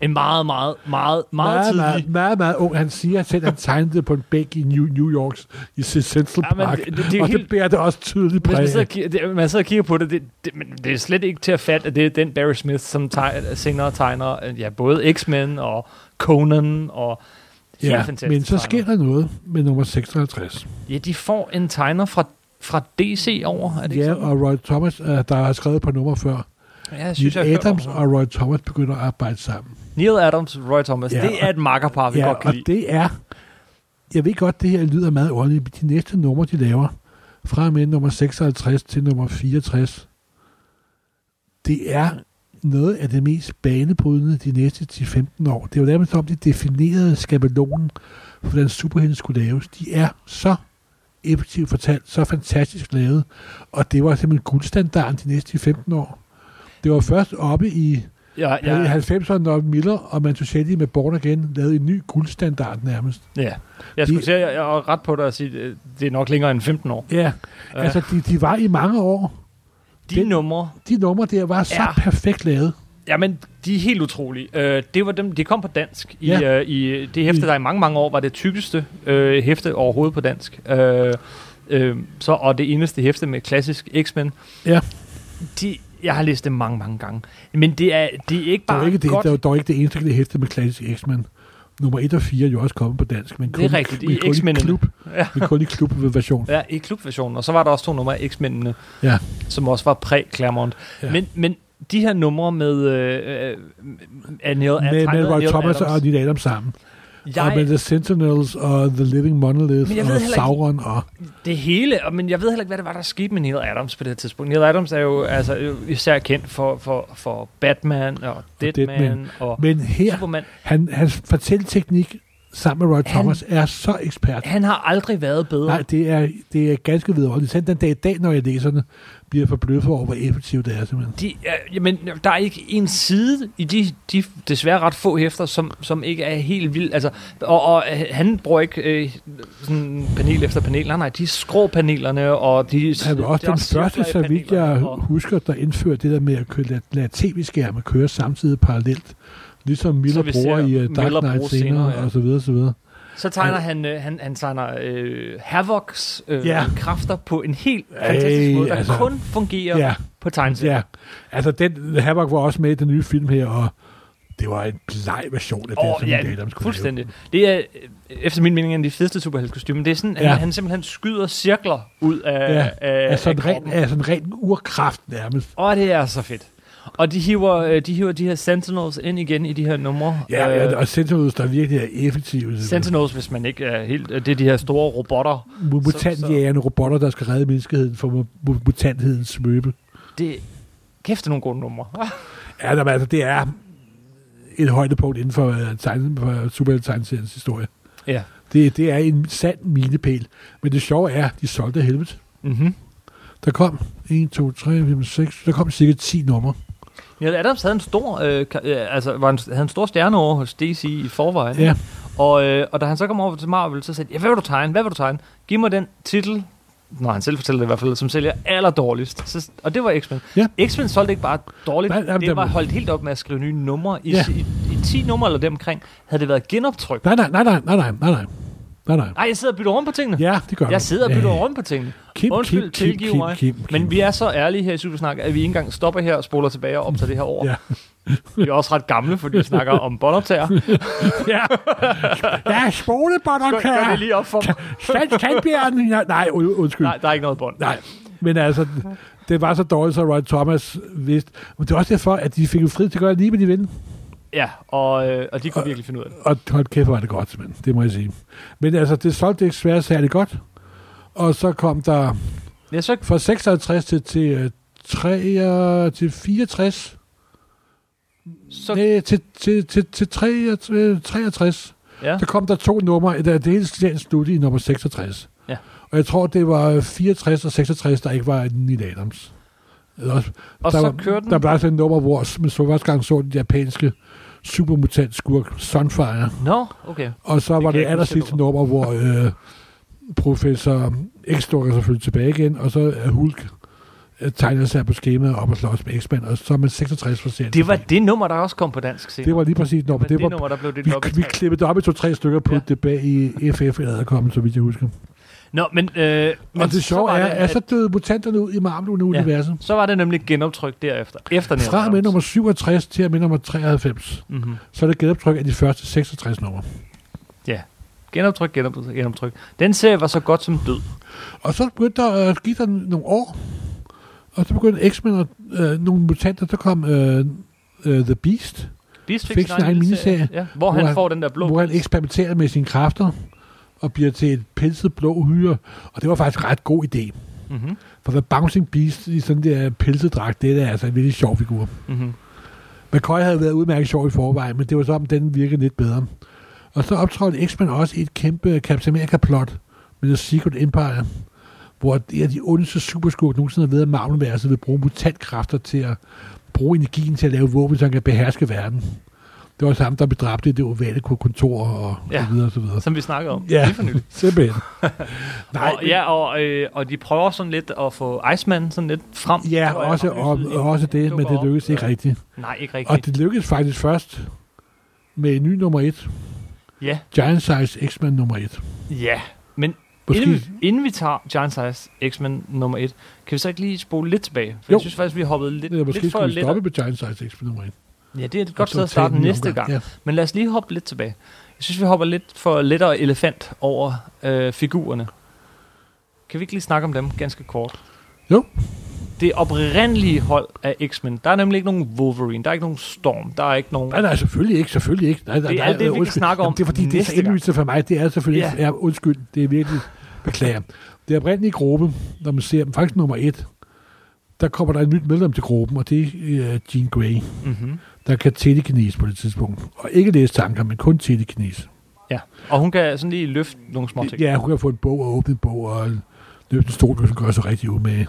Speaker 1: En meget, meget, meget, meget
Speaker 2: meget,
Speaker 1: tidlig.
Speaker 2: meget, meget, meget ung. Han siger selv, at han tegnede det på en bæk i New, New Yorks i Central
Speaker 1: Ja, men
Speaker 2: Park.
Speaker 1: det- det- det er jo
Speaker 2: og det
Speaker 1: helt-
Speaker 2: bærer det også tydeligt
Speaker 1: Hvis
Speaker 2: præg.
Speaker 1: man
Speaker 2: af.
Speaker 1: sidder, og kigger, det, man sidder og kigger på det, det, det, men det er slet ikke til at fatte, at det er den Barry Smith, som teg, senere tegner øh, ja, både X-Men og Conan og helt
Speaker 2: Ja,
Speaker 1: fantastisk
Speaker 2: men så
Speaker 1: tegner.
Speaker 2: sker der noget med nummer 56.
Speaker 1: Ja, de får en tegner fra, fra DC over, er det ikke
Speaker 2: Ja,
Speaker 1: sådan?
Speaker 2: og Roy Thomas, øh, der har skrevet på nummer før,
Speaker 1: Ja, jeg
Speaker 2: Neil
Speaker 1: jeg har hørt
Speaker 2: Adams
Speaker 1: om
Speaker 2: og
Speaker 1: ham.
Speaker 2: Roy Thomas begynder at arbejde sammen.
Speaker 1: Neil Adams, Roy Thomas,
Speaker 2: Ja,
Speaker 1: ja, det er et makkerpar, vi ja,
Speaker 2: Ja,
Speaker 1: godt kan
Speaker 2: og
Speaker 1: lide.
Speaker 2: det er... Jeg ved godt, det her lyder meget ordentligt, men de næste numre, de laver, fra og med nummer 56 til nummer 64, det er noget af det mest banebrydende de næste 10-15 år. Det er jo nærmest om, de definerede skabelonen, for hvordan superhelten skulle laves. De er så effektivt fortalt, så fantastisk lavet, og det var simpelthen guldstandarden de næste 15 år. Det var først oppe i
Speaker 1: Ja,
Speaker 2: Ja. I
Speaker 1: ja,
Speaker 2: 90'erne, når Miller og Mantuschetti med Born Again lavede en ny guldstandard nærmest.
Speaker 1: ja. Jeg skulle
Speaker 2: de-
Speaker 1: sige, jeg, jeg er ret på dig at sige, øh, det er nok længere end 15 år.
Speaker 2: Ja. Altså, de, de var i mange år.
Speaker 1: De
Speaker 2: det-
Speaker 1: numre,
Speaker 2: De numre der var så
Speaker 1: Ja.
Speaker 2: perfekt lavet.
Speaker 1: Jamen, de er helt utrolige. Øh, det var dem, de kom på dansk. I,
Speaker 2: Ja.
Speaker 1: øh, i det hæfte, der i mange, mange år var det tykkeste øh, hæfte overhovedet på dansk. Øh, øh, så, og det eneste hæfte med klassisk X-Men.
Speaker 2: Ja.
Speaker 1: De, jeg har læst det mange, mange gange. Men det er, det er ikke
Speaker 2: Det
Speaker 1: bare
Speaker 2: var, ikke det,
Speaker 1: godt.
Speaker 2: det var dog ikke det eneste, der hæfte med klassisk X-Men. Nummer 1 og 4 er jo også kommet på dansk, men
Speaker 1: Det
Speaker 2: kun,
Speaker 1: er rigtigt,
Speaker 2: men
Speaker 1: i
Speaker 2: kun i
Speaker 1: X-Men'ene.
Speaker 2: klub.
Speaker 1: Ja.
Speaker 2: Men kun i klubversion.
Speaker 1: Ja, i klubversionen. Og så var der også to numre af X-Mændene,
Speaker 2: Ja.
Speaker 1: som også var præ-Claremont.
Speaker 2: Ja.
Speaker 1: Ja. Men, men de her numre med... Øh, øh, af Neil, af
Speaker 2: Med, med
Speaker 1: tegnet
Speaker 2: Roy
Speaker 1: Neil
Speaker 2: Thomas
Speaker 1: Adams.
Speaker 2: og Neil Adams sammen. Jeg... Og
Speaker 1: Jeg-
Speaker 2: med The Sentinels og The Living Monolith
Speaker 1: Men jeg ved
Speaker 2: og
Speaker 1: heller ikke-
Speaker 2: Sauron. Og...
Speaker 1: det hele, og- men jeg ved heller ikke, hvad det var, der skete med Neil Adams på det her tidspunkt. Neil Adams er jo altså, jo især kendt for, for, for Batman og Deadman
Speaker 2: Deadman.
Speaker 1: Dead og
Speaker 2: Men her,
Speaker 1: Superman.
Speaker 2: han, hans fortælleteknik sammen med Roy Thomas er så ekspert.
Speaker 1: Han har aldrig været bedre.
Speaker 2: Nej, det er, det er ganske vidunderligt. Selv den dag i dag, når jeg læser den, bliver jeg forbløffet over, hvor effektivt det er simpelthen.
Speaker 1: De, øh, jamen, der er ikke en side i de, de desværre ret få hæfter, som, som ikke er helt vild. Altså, og, og øh, han bruger ikke øh, sådan panel efter panel. Nej, nej, de skrå panelerne, og de...
Speaker 2: Han var også
Speaker 1: der er
Speaker 2: den
Speaker 1: cirkler
Speaker 2: første,
Speaker 1: i
Speaker 2: så vidt jeg
Speaker 1: panelerne, og-
Speaker 2: husker, der indførte det der med at køre, lade, lade tv-skærme køre samtidig parallelt. Ligesom Miller
Speaker 1: vi
Speaker 2: bruger
Speaker 1: ser
Speaker 2: i uh, Dark
Speaker 1: Miller
Speaker 2: Knight
Speaker 1: bruge
Speaker 2: senere,
Speaker 1: senere,
Speaker 2: ja.
Speaker 1: ja.
Speaker 2: og så videre, så videre.
Speaker 1: Så tegner han, øh, han, han tegner øh, Havocs øh,
Speaker 2: Ja.
Speaker 1: kræfter på en helt
Speaker 2: Ej,
Speaker 1: fantastisk måde, der
Speaker 2: altså.
Speaker 1: kun
Speaker 2: Ja,
Speaker 1: fungerer
Speaker 2: ja.
Speaker 1: på tegneserien.
Speaker 2: ja. Altså, den, Havok var også med i den nye film her, og det var en bleg version af det,
Speaker 1: Og,
Speaker 2: som
Speaker 1: ja,
Speaker 2: Neil Adams kunne lave.
Speaker 1: fuldstændig. Det er, øh, efter min mening, en af de fedeste superheltekostymer. Det er sådan,
Speaker 2: Ja.
Speaker 1: ja. han, han simpelthen skyder cirkler ud af,
Speaker 2: Ja,
Speaker 1: ja. af,
Speaker 2: Altså,
Speaker 1: af
Speaker 2: en ren,
Speaker 1: kroppen.
Speaker 2: altså en ren urkraft nærmest.
Speaker 1: Og det er så fedt. Og de hiver, øh, de hiver de her Sentinels ind igen i de her numre. Øh,
Speaker 2: Ja, ja og Sentinels, der virkelig er effektive.
Speaker 1: Sentinels, hvis man ikke er helt... øh, Det er de her store robotter,
Speaker 2: Mutantjægerne, robotter, der skal redde menneskeheden fra mu- mu- mutanthedens svøbe.
Speaker 1: Det kæft, det er nogle gode numre.
Speaker 2: Ja, der, altså, det er et højdepunkt inden for, uh, tegn, for Superhelte-tegneseriens historie.
Speaker 1: ja.
Speaker 2: Det, det er en sand milepæl. Men det sjove er, de solgte af helvede.
Speaker 1: Mm-hmm.
Speaker 2: Der kom 1, 2, 3, 5, 6, der kom cirka 10 numre.
Speaker 1: Neil Adams havde en stor, øh, ka- øh, altså, var en, havde en stor stjerne over hos DC i forvejen.
Speaker 2: Ja,
Speaker 1: Og, øh, og da han så kom over til Marvel, så sagde de, ja, hvad vil du tegne? Hvad vil du tegne? Giv mig den titel, når han selv fortæller det i hvert fald, som sælger allerdårligst. Så, og det var X-Men.
Speaker 2: Ja.
Speaker 1: X-Men solgte ikke bare dårligt,
Speaker 2: Nej,
Speaker 1: Nej,
Speaker 2: jamen,
Speaker 1: det var
Speaker 2: jamen.
Speaker 1: holdt helt op med at skrive nye numre. I,
Speaker 2: Ja.
Speaker 1: ja. i, i 10 numre eller deromkring havde det været genoptryk.
Speaker 2: Nej, nej, nej, nej, nej, nej, nej, nej, nej, nej.
Speaker 1: Nej, jeg sidder og bytter rundt på tingene.
Speaker 2: Ja, det gør
Speaker 1: Jeg sidder og bytter
Speaker 2: Ja.
Speaker 1: rundt på tingene.
Speaker 2: Kim,
Speaker 1: Undskyld,
Speaker 2: Kim, Kim,
Speaker 1: tilgiv
Speaker 2: Kim,
Speaker 1: mig.
Speaker 2: Kim, Kim.
Speaker 1: Men vi er så ærlige her i Supersnak, at vi ikke engang stopper her og spoler tilbage og optager det her over.
Speaker 2: Ja.
Speaker 1: <laughs> Vi er også ret gamle, fordi vi snakker om båndoptager. <laughs>
Speaker 2: Ja, ja
Speaker 1: Gør, gør
Speaker 2: spolebåndoptager.
Speaker 1: det lige op for mig.
Speaker 2: Sand- Sandbjergen. Ja, nej, und- undskyld.
Speaker 1: Nej, der er ikke noget bånd.
Speaker 2: Nej, men altså, det var så dårligt, så Roy Thomas vidste. Men det var også derfor, at de fik jo frid til at gøre lige, hvad de ville.
Speaker 1: Ja, og, øh, og de kunne virkelig finde ud af det.
Speaker 2: Og hold kæft, hvor var det godt, men det må jeg sige. Men altså, det solgte ikke svært særlig godt. Og så kom der
Speaker 1: Jeg så ikke
Speaker 2: fra 56 til, til, øh, 3, øh, til 64,
Speaker 1: så...
Speaker 2: så... nej, til, til, til, til 3, til 63.
Speaker 1: Ja.
Speaker 2: Så kom der to numre, da det hele serien sluttede i nummer 66.
Speaker 1: Ja.
Speaker 2: Og jeg tror, det var 64 og 66, der ikke var en Neil Adams. Eller også-
Speaker 1: Og
Speaker 2: der
Speaker 1: så
Speaker 2: var,
Speaker 1: kører den...
Speaker 2: Der blev altså et nummer, hvor man så første gang så den japanske supermutant skurk Sunfire.
Speaker 1: Nå, okay.
Speaker 2: Og så
Speaker 1: Det
Speaker 2: det var
Speaker 1: kan
Speaker 2: det
Speaker 1: jeg ikke
Speaker 2: aller
Speaker 1: huske,
Speaker 2: sidste nummer, hvor øh, professor x dukker selvfølgelig tilbage igen, og så er Hulk øh, tegner sig på skemaet op og slås med X-Men, og så er man 66 for serien.
Speaker 1: Det var det nummer, der også kom på dansk scene.
Speaker 2: det var lige præcis nummer.
Speaker 1: Men det,
Speaker 2: Det var,
Speaker 1: nummer, der blev delt op i
Speaker 2: vi, vi
Speaker 1: tre.
Speaker 2: klippede det op i to-tre stykker på
Speaker 1: Ja.
Speaker 2: ja. det bag i FF, eller kommet, så vidt jeg husker.
Speaker 1: Nå, men... Øh, men
Speaker 2: Men og det
Speaker 1: så
Speaker 2: sjove
Speaker 1: var
Speaker 2: er, altså-
Speaker 1: det, øh,
Speaker 2: at så døde mutanterne ud i Marvel-universet.
Speaker 1: Så var det nemlig genoptryk derefter. Efter
Speaker 2: Ja. Fra og med nummer 67 til og med nummer 93,
Speaker 1: Mm-hmm.
Speaker 2: så er det genoptryk af de første 66 numre.
Speaker 1: Genoptryk, genoptryk, genoptryk. Den serie var så godt som død.
Speaker 2: Og så begyndte der, øh, gik der nogle år, og så begyndte X-Men og øh, nogle mutanter, der kom øh, øh, The Beast,
Speaker 1: Beast
Speaker 2: Fik sin egen miniserie,
Speaker 1: Ja, hvor, han,
Speaker 2: han-
Speaker 1: får den der blå.
Speaker 2: hvor han eksperimenterede med sine kræfter og bliver til et pelset blå hyre. Og det var faktisk en ret god idé.
Speaker 1: Mm-hmm.
Speaker 2: For The Bouncing Beast i sådan der pelsedragt, det er altså en virkelig sjov figur.
Speaker 1: Mm-hmm.
Speaker 2: McCoy havde været udmærket sjov i forvejen, men det var så, om den virkede lidt bedre. Og så optrådte X-Men også i et kæmpe Captain America-plot med The Secret Empire, hvor en af de ondeste superskurke nogensinde har været i Marvel-verset, vil bruge mutantkræfter til at bruge energien til at lave våben, så han kan beherske verden. Det var også ham, der blev dræbt i det ovale kontor og, ja.
Speaker 1: Ja.
Speaker 2: og så videre og så videre.
Speaker 1: Som vi snakkede om.
Speaker 2: Ja,
Speaker 1: Lige for nylig. <laughs>
Speaker 2: <laughs> simpelthen. Nej,
Speaker 1: og, ja, og, øh, og de prøver sådan lidt at få Iceman sådan lidt frem.
Speaker 2: ja
Speaker 1: tror jeg,
Speaker 2: også,
Speaker 1: lyset
Speaker 2: og,
Speaker 1: ind-
Speaker 2: også det, men
Speaker 1: dukker
Speaker 2: det
Speaker 1: op.
Speaker 2: lykkedes ikke rigtigt.
Speaker 1: Nej, ikke
Speaker 2: Og
Speaker 1: rigtigt.
Speaker 2: det lykkedes faktisk først med en ny nummer et,
Speaker 1: Ja,
Speaker 2: Giant Size X-Men nummer et.
Speaker 1: ja. Men
Speaker 2: Måske-
Speaker 1: inden, vi- inden vi tager Giant Size X-Men nummer 1, kan vi så ikke lige spole lidt tilbage? For
Speaker 2: Jo.
Speaker 1: jeg synes faktisk, vi har hoppet lidt,
Speaker 2: Eller måske
Speaker 1: lidt for
Speaker 2: skulle vi
Speaker 1: lidt.
Speaker 2: stoppe på Giant Size Experiment 1.
Speaker 1: Ja, det er et godt sted at starte næste gang.
Speaker 2: Ja.
Speaker 1: Men lad os lige hoppe lidt tilbage. Jeg synes, vi hopper lidt for lettere elefant over øh, figurerne. Kan vi ikke lige snakke om dem ganske kort?
Speaker 2: Jo.
Speaker 1: Det oprindelige hold af X-Men. Der er nemlig ikke nogen Wolverine, der er ikke nogen Storm, der er ikke nogen...
Speaker 2: Nej, nej, selvfølgelig ikke, selvfølgelig ikke. Nej, nej,
Speaker 1: Det er
Speaker 2: nej,
Speaker 1: alt det, vi kan
Speaker 2: undskyld.
Speaker 1: snakke om
Speaker 2: Jamen, det er fordi, det er så
Speaker 1: næste gang.
Speaker 2: indlysende for mig. Det er selvfølgelig
Speaker 1: Ja.
Speaker 2: ikke. Ja, undskyld, det er virkelig... Beklager. Det er oprindelige gruppe, når man ser dem, faktisk nummer et, der kommer der et nyt medlem til gruppen, og det er øh, Jean Grey,
Speaker 1: Mm-hmm.
Speaker 2: der kan telekinese på det tidspunkt. Og ikke læse tanker, men kun telekinese.
Speaker 1: Ja. Og hun kan sådan lige løfte nogle små ting.
Speaker 2: Ja, hun kan få en bog og åbne en bog og løbe en stol, hvis hun gør sig rigtig umage.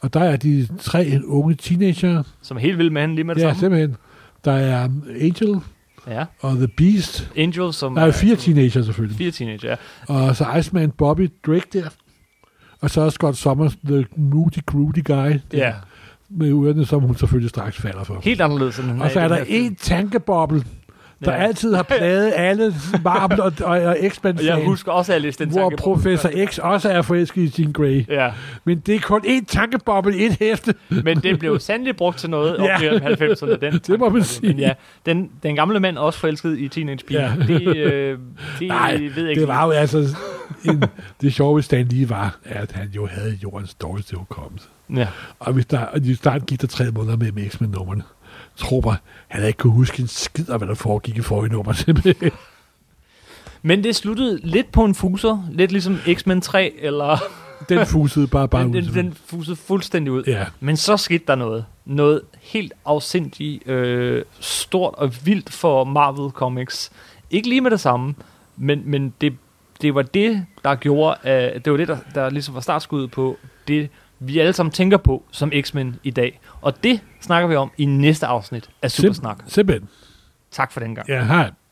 Speaker 2: Og der er de tre unge teenager,
Speaker 1: Som er helt vild med hende lige med det
Speaker 2: ja,
Speaker 1: samme.
Speaker 2: simpelthen. Der er um, Angel,
Speaker 1: Ja.
Speaker 2: og The Beast.
Speaker 1: Angel, som
Speaker 2: Der er fire teenager selvfølgelig.
Speaker 1: fire teenager. Ja.
Speaker 2: Og så Iceman, Bobby, Drake der. Og så er Scott Summers, the moody, groody guy. der,
Speaker 1: ja.
Speaker 2: Med ørerne, som hun selvfølgelig straks falder for.
Speaker 1: Helt anderledes end han
Speaker 2: Og så
Speaker 1: i
Speaker 2: er
Speaker 1: den her
Speaker 2: der
Speaker 1: film.
Speaker 2: en tankeboble, der
Speaker 1: Ja.
Speaker 2: altid har
Speaker 1: <laughs>
Speaker 2: plaget alle Marvel og, og, og X-Men
Speaker 1: Og jeg husker også, at jeg læste den
Speaker 2: hvor
Speaker 1: tanke på.
Speaker 2: Professor X også er forelsket i Jean Grey.
Speaker 1: Ja.
Speaker 2: Men det er kun én tankeboble i et hæfte.
Speaker 1: Men det blev sandelig brugt til noget
Speaker 2: <laughs> Ja.
Speaker 1: op i 90'erne.
Speaker 2: <laughs>
Speaker 1: Den tanke,
Speaker 2: må man
Speaker 1: men
Speaker 2: sige.
Speaker 1: Ja, den, den gamle mand er også forelsket i teenage piger. Ja.
Speaker 2: Ja.
Speaker 1: Det, øh, det
Speaker 2: <laughs> Nej,
Speaker 1: ved jeg ikke.
Speaker 2: Det var jo altså... En, det sjove ved Stan lige var, at han jo havde jordens dårligste hukommelse.
Speaker 1: Ja.
Speaker 2: Og hvis der, og i starten gik der tre måneder med med X-Men nummerne. Tror mig, han havde ikke kunne huske en skid af, hvad der foregik i forrige nummer. simpelthen.
Speaker 1: Men det sluttede lidt på en fuser. Lidt ligesom X-Men 3, eller
Speaker 2: den fusede bare, bare
Speaker 1: den,
Speaker 2: ud.
Speaker 1: den, den fusede fuldstændig ud.
Speaker 2: Ja,
Speaker 1: Men så skete der noget. Noget helt afsindigt øh, stort og vildt for Marvel Comics. Ikke lige med det samme, men, men det, det var det, der gjorde, øh, det var det, der, der ligesom var startskuddet på det, vi alle sammen tænker på som X-Men i dag. Og det snakker vi om i næste afsnit af Supersnak.
Speaker 2: simpelthen.
Speaker 1: Tak for den gang.
Speaker 2: Ja, hej.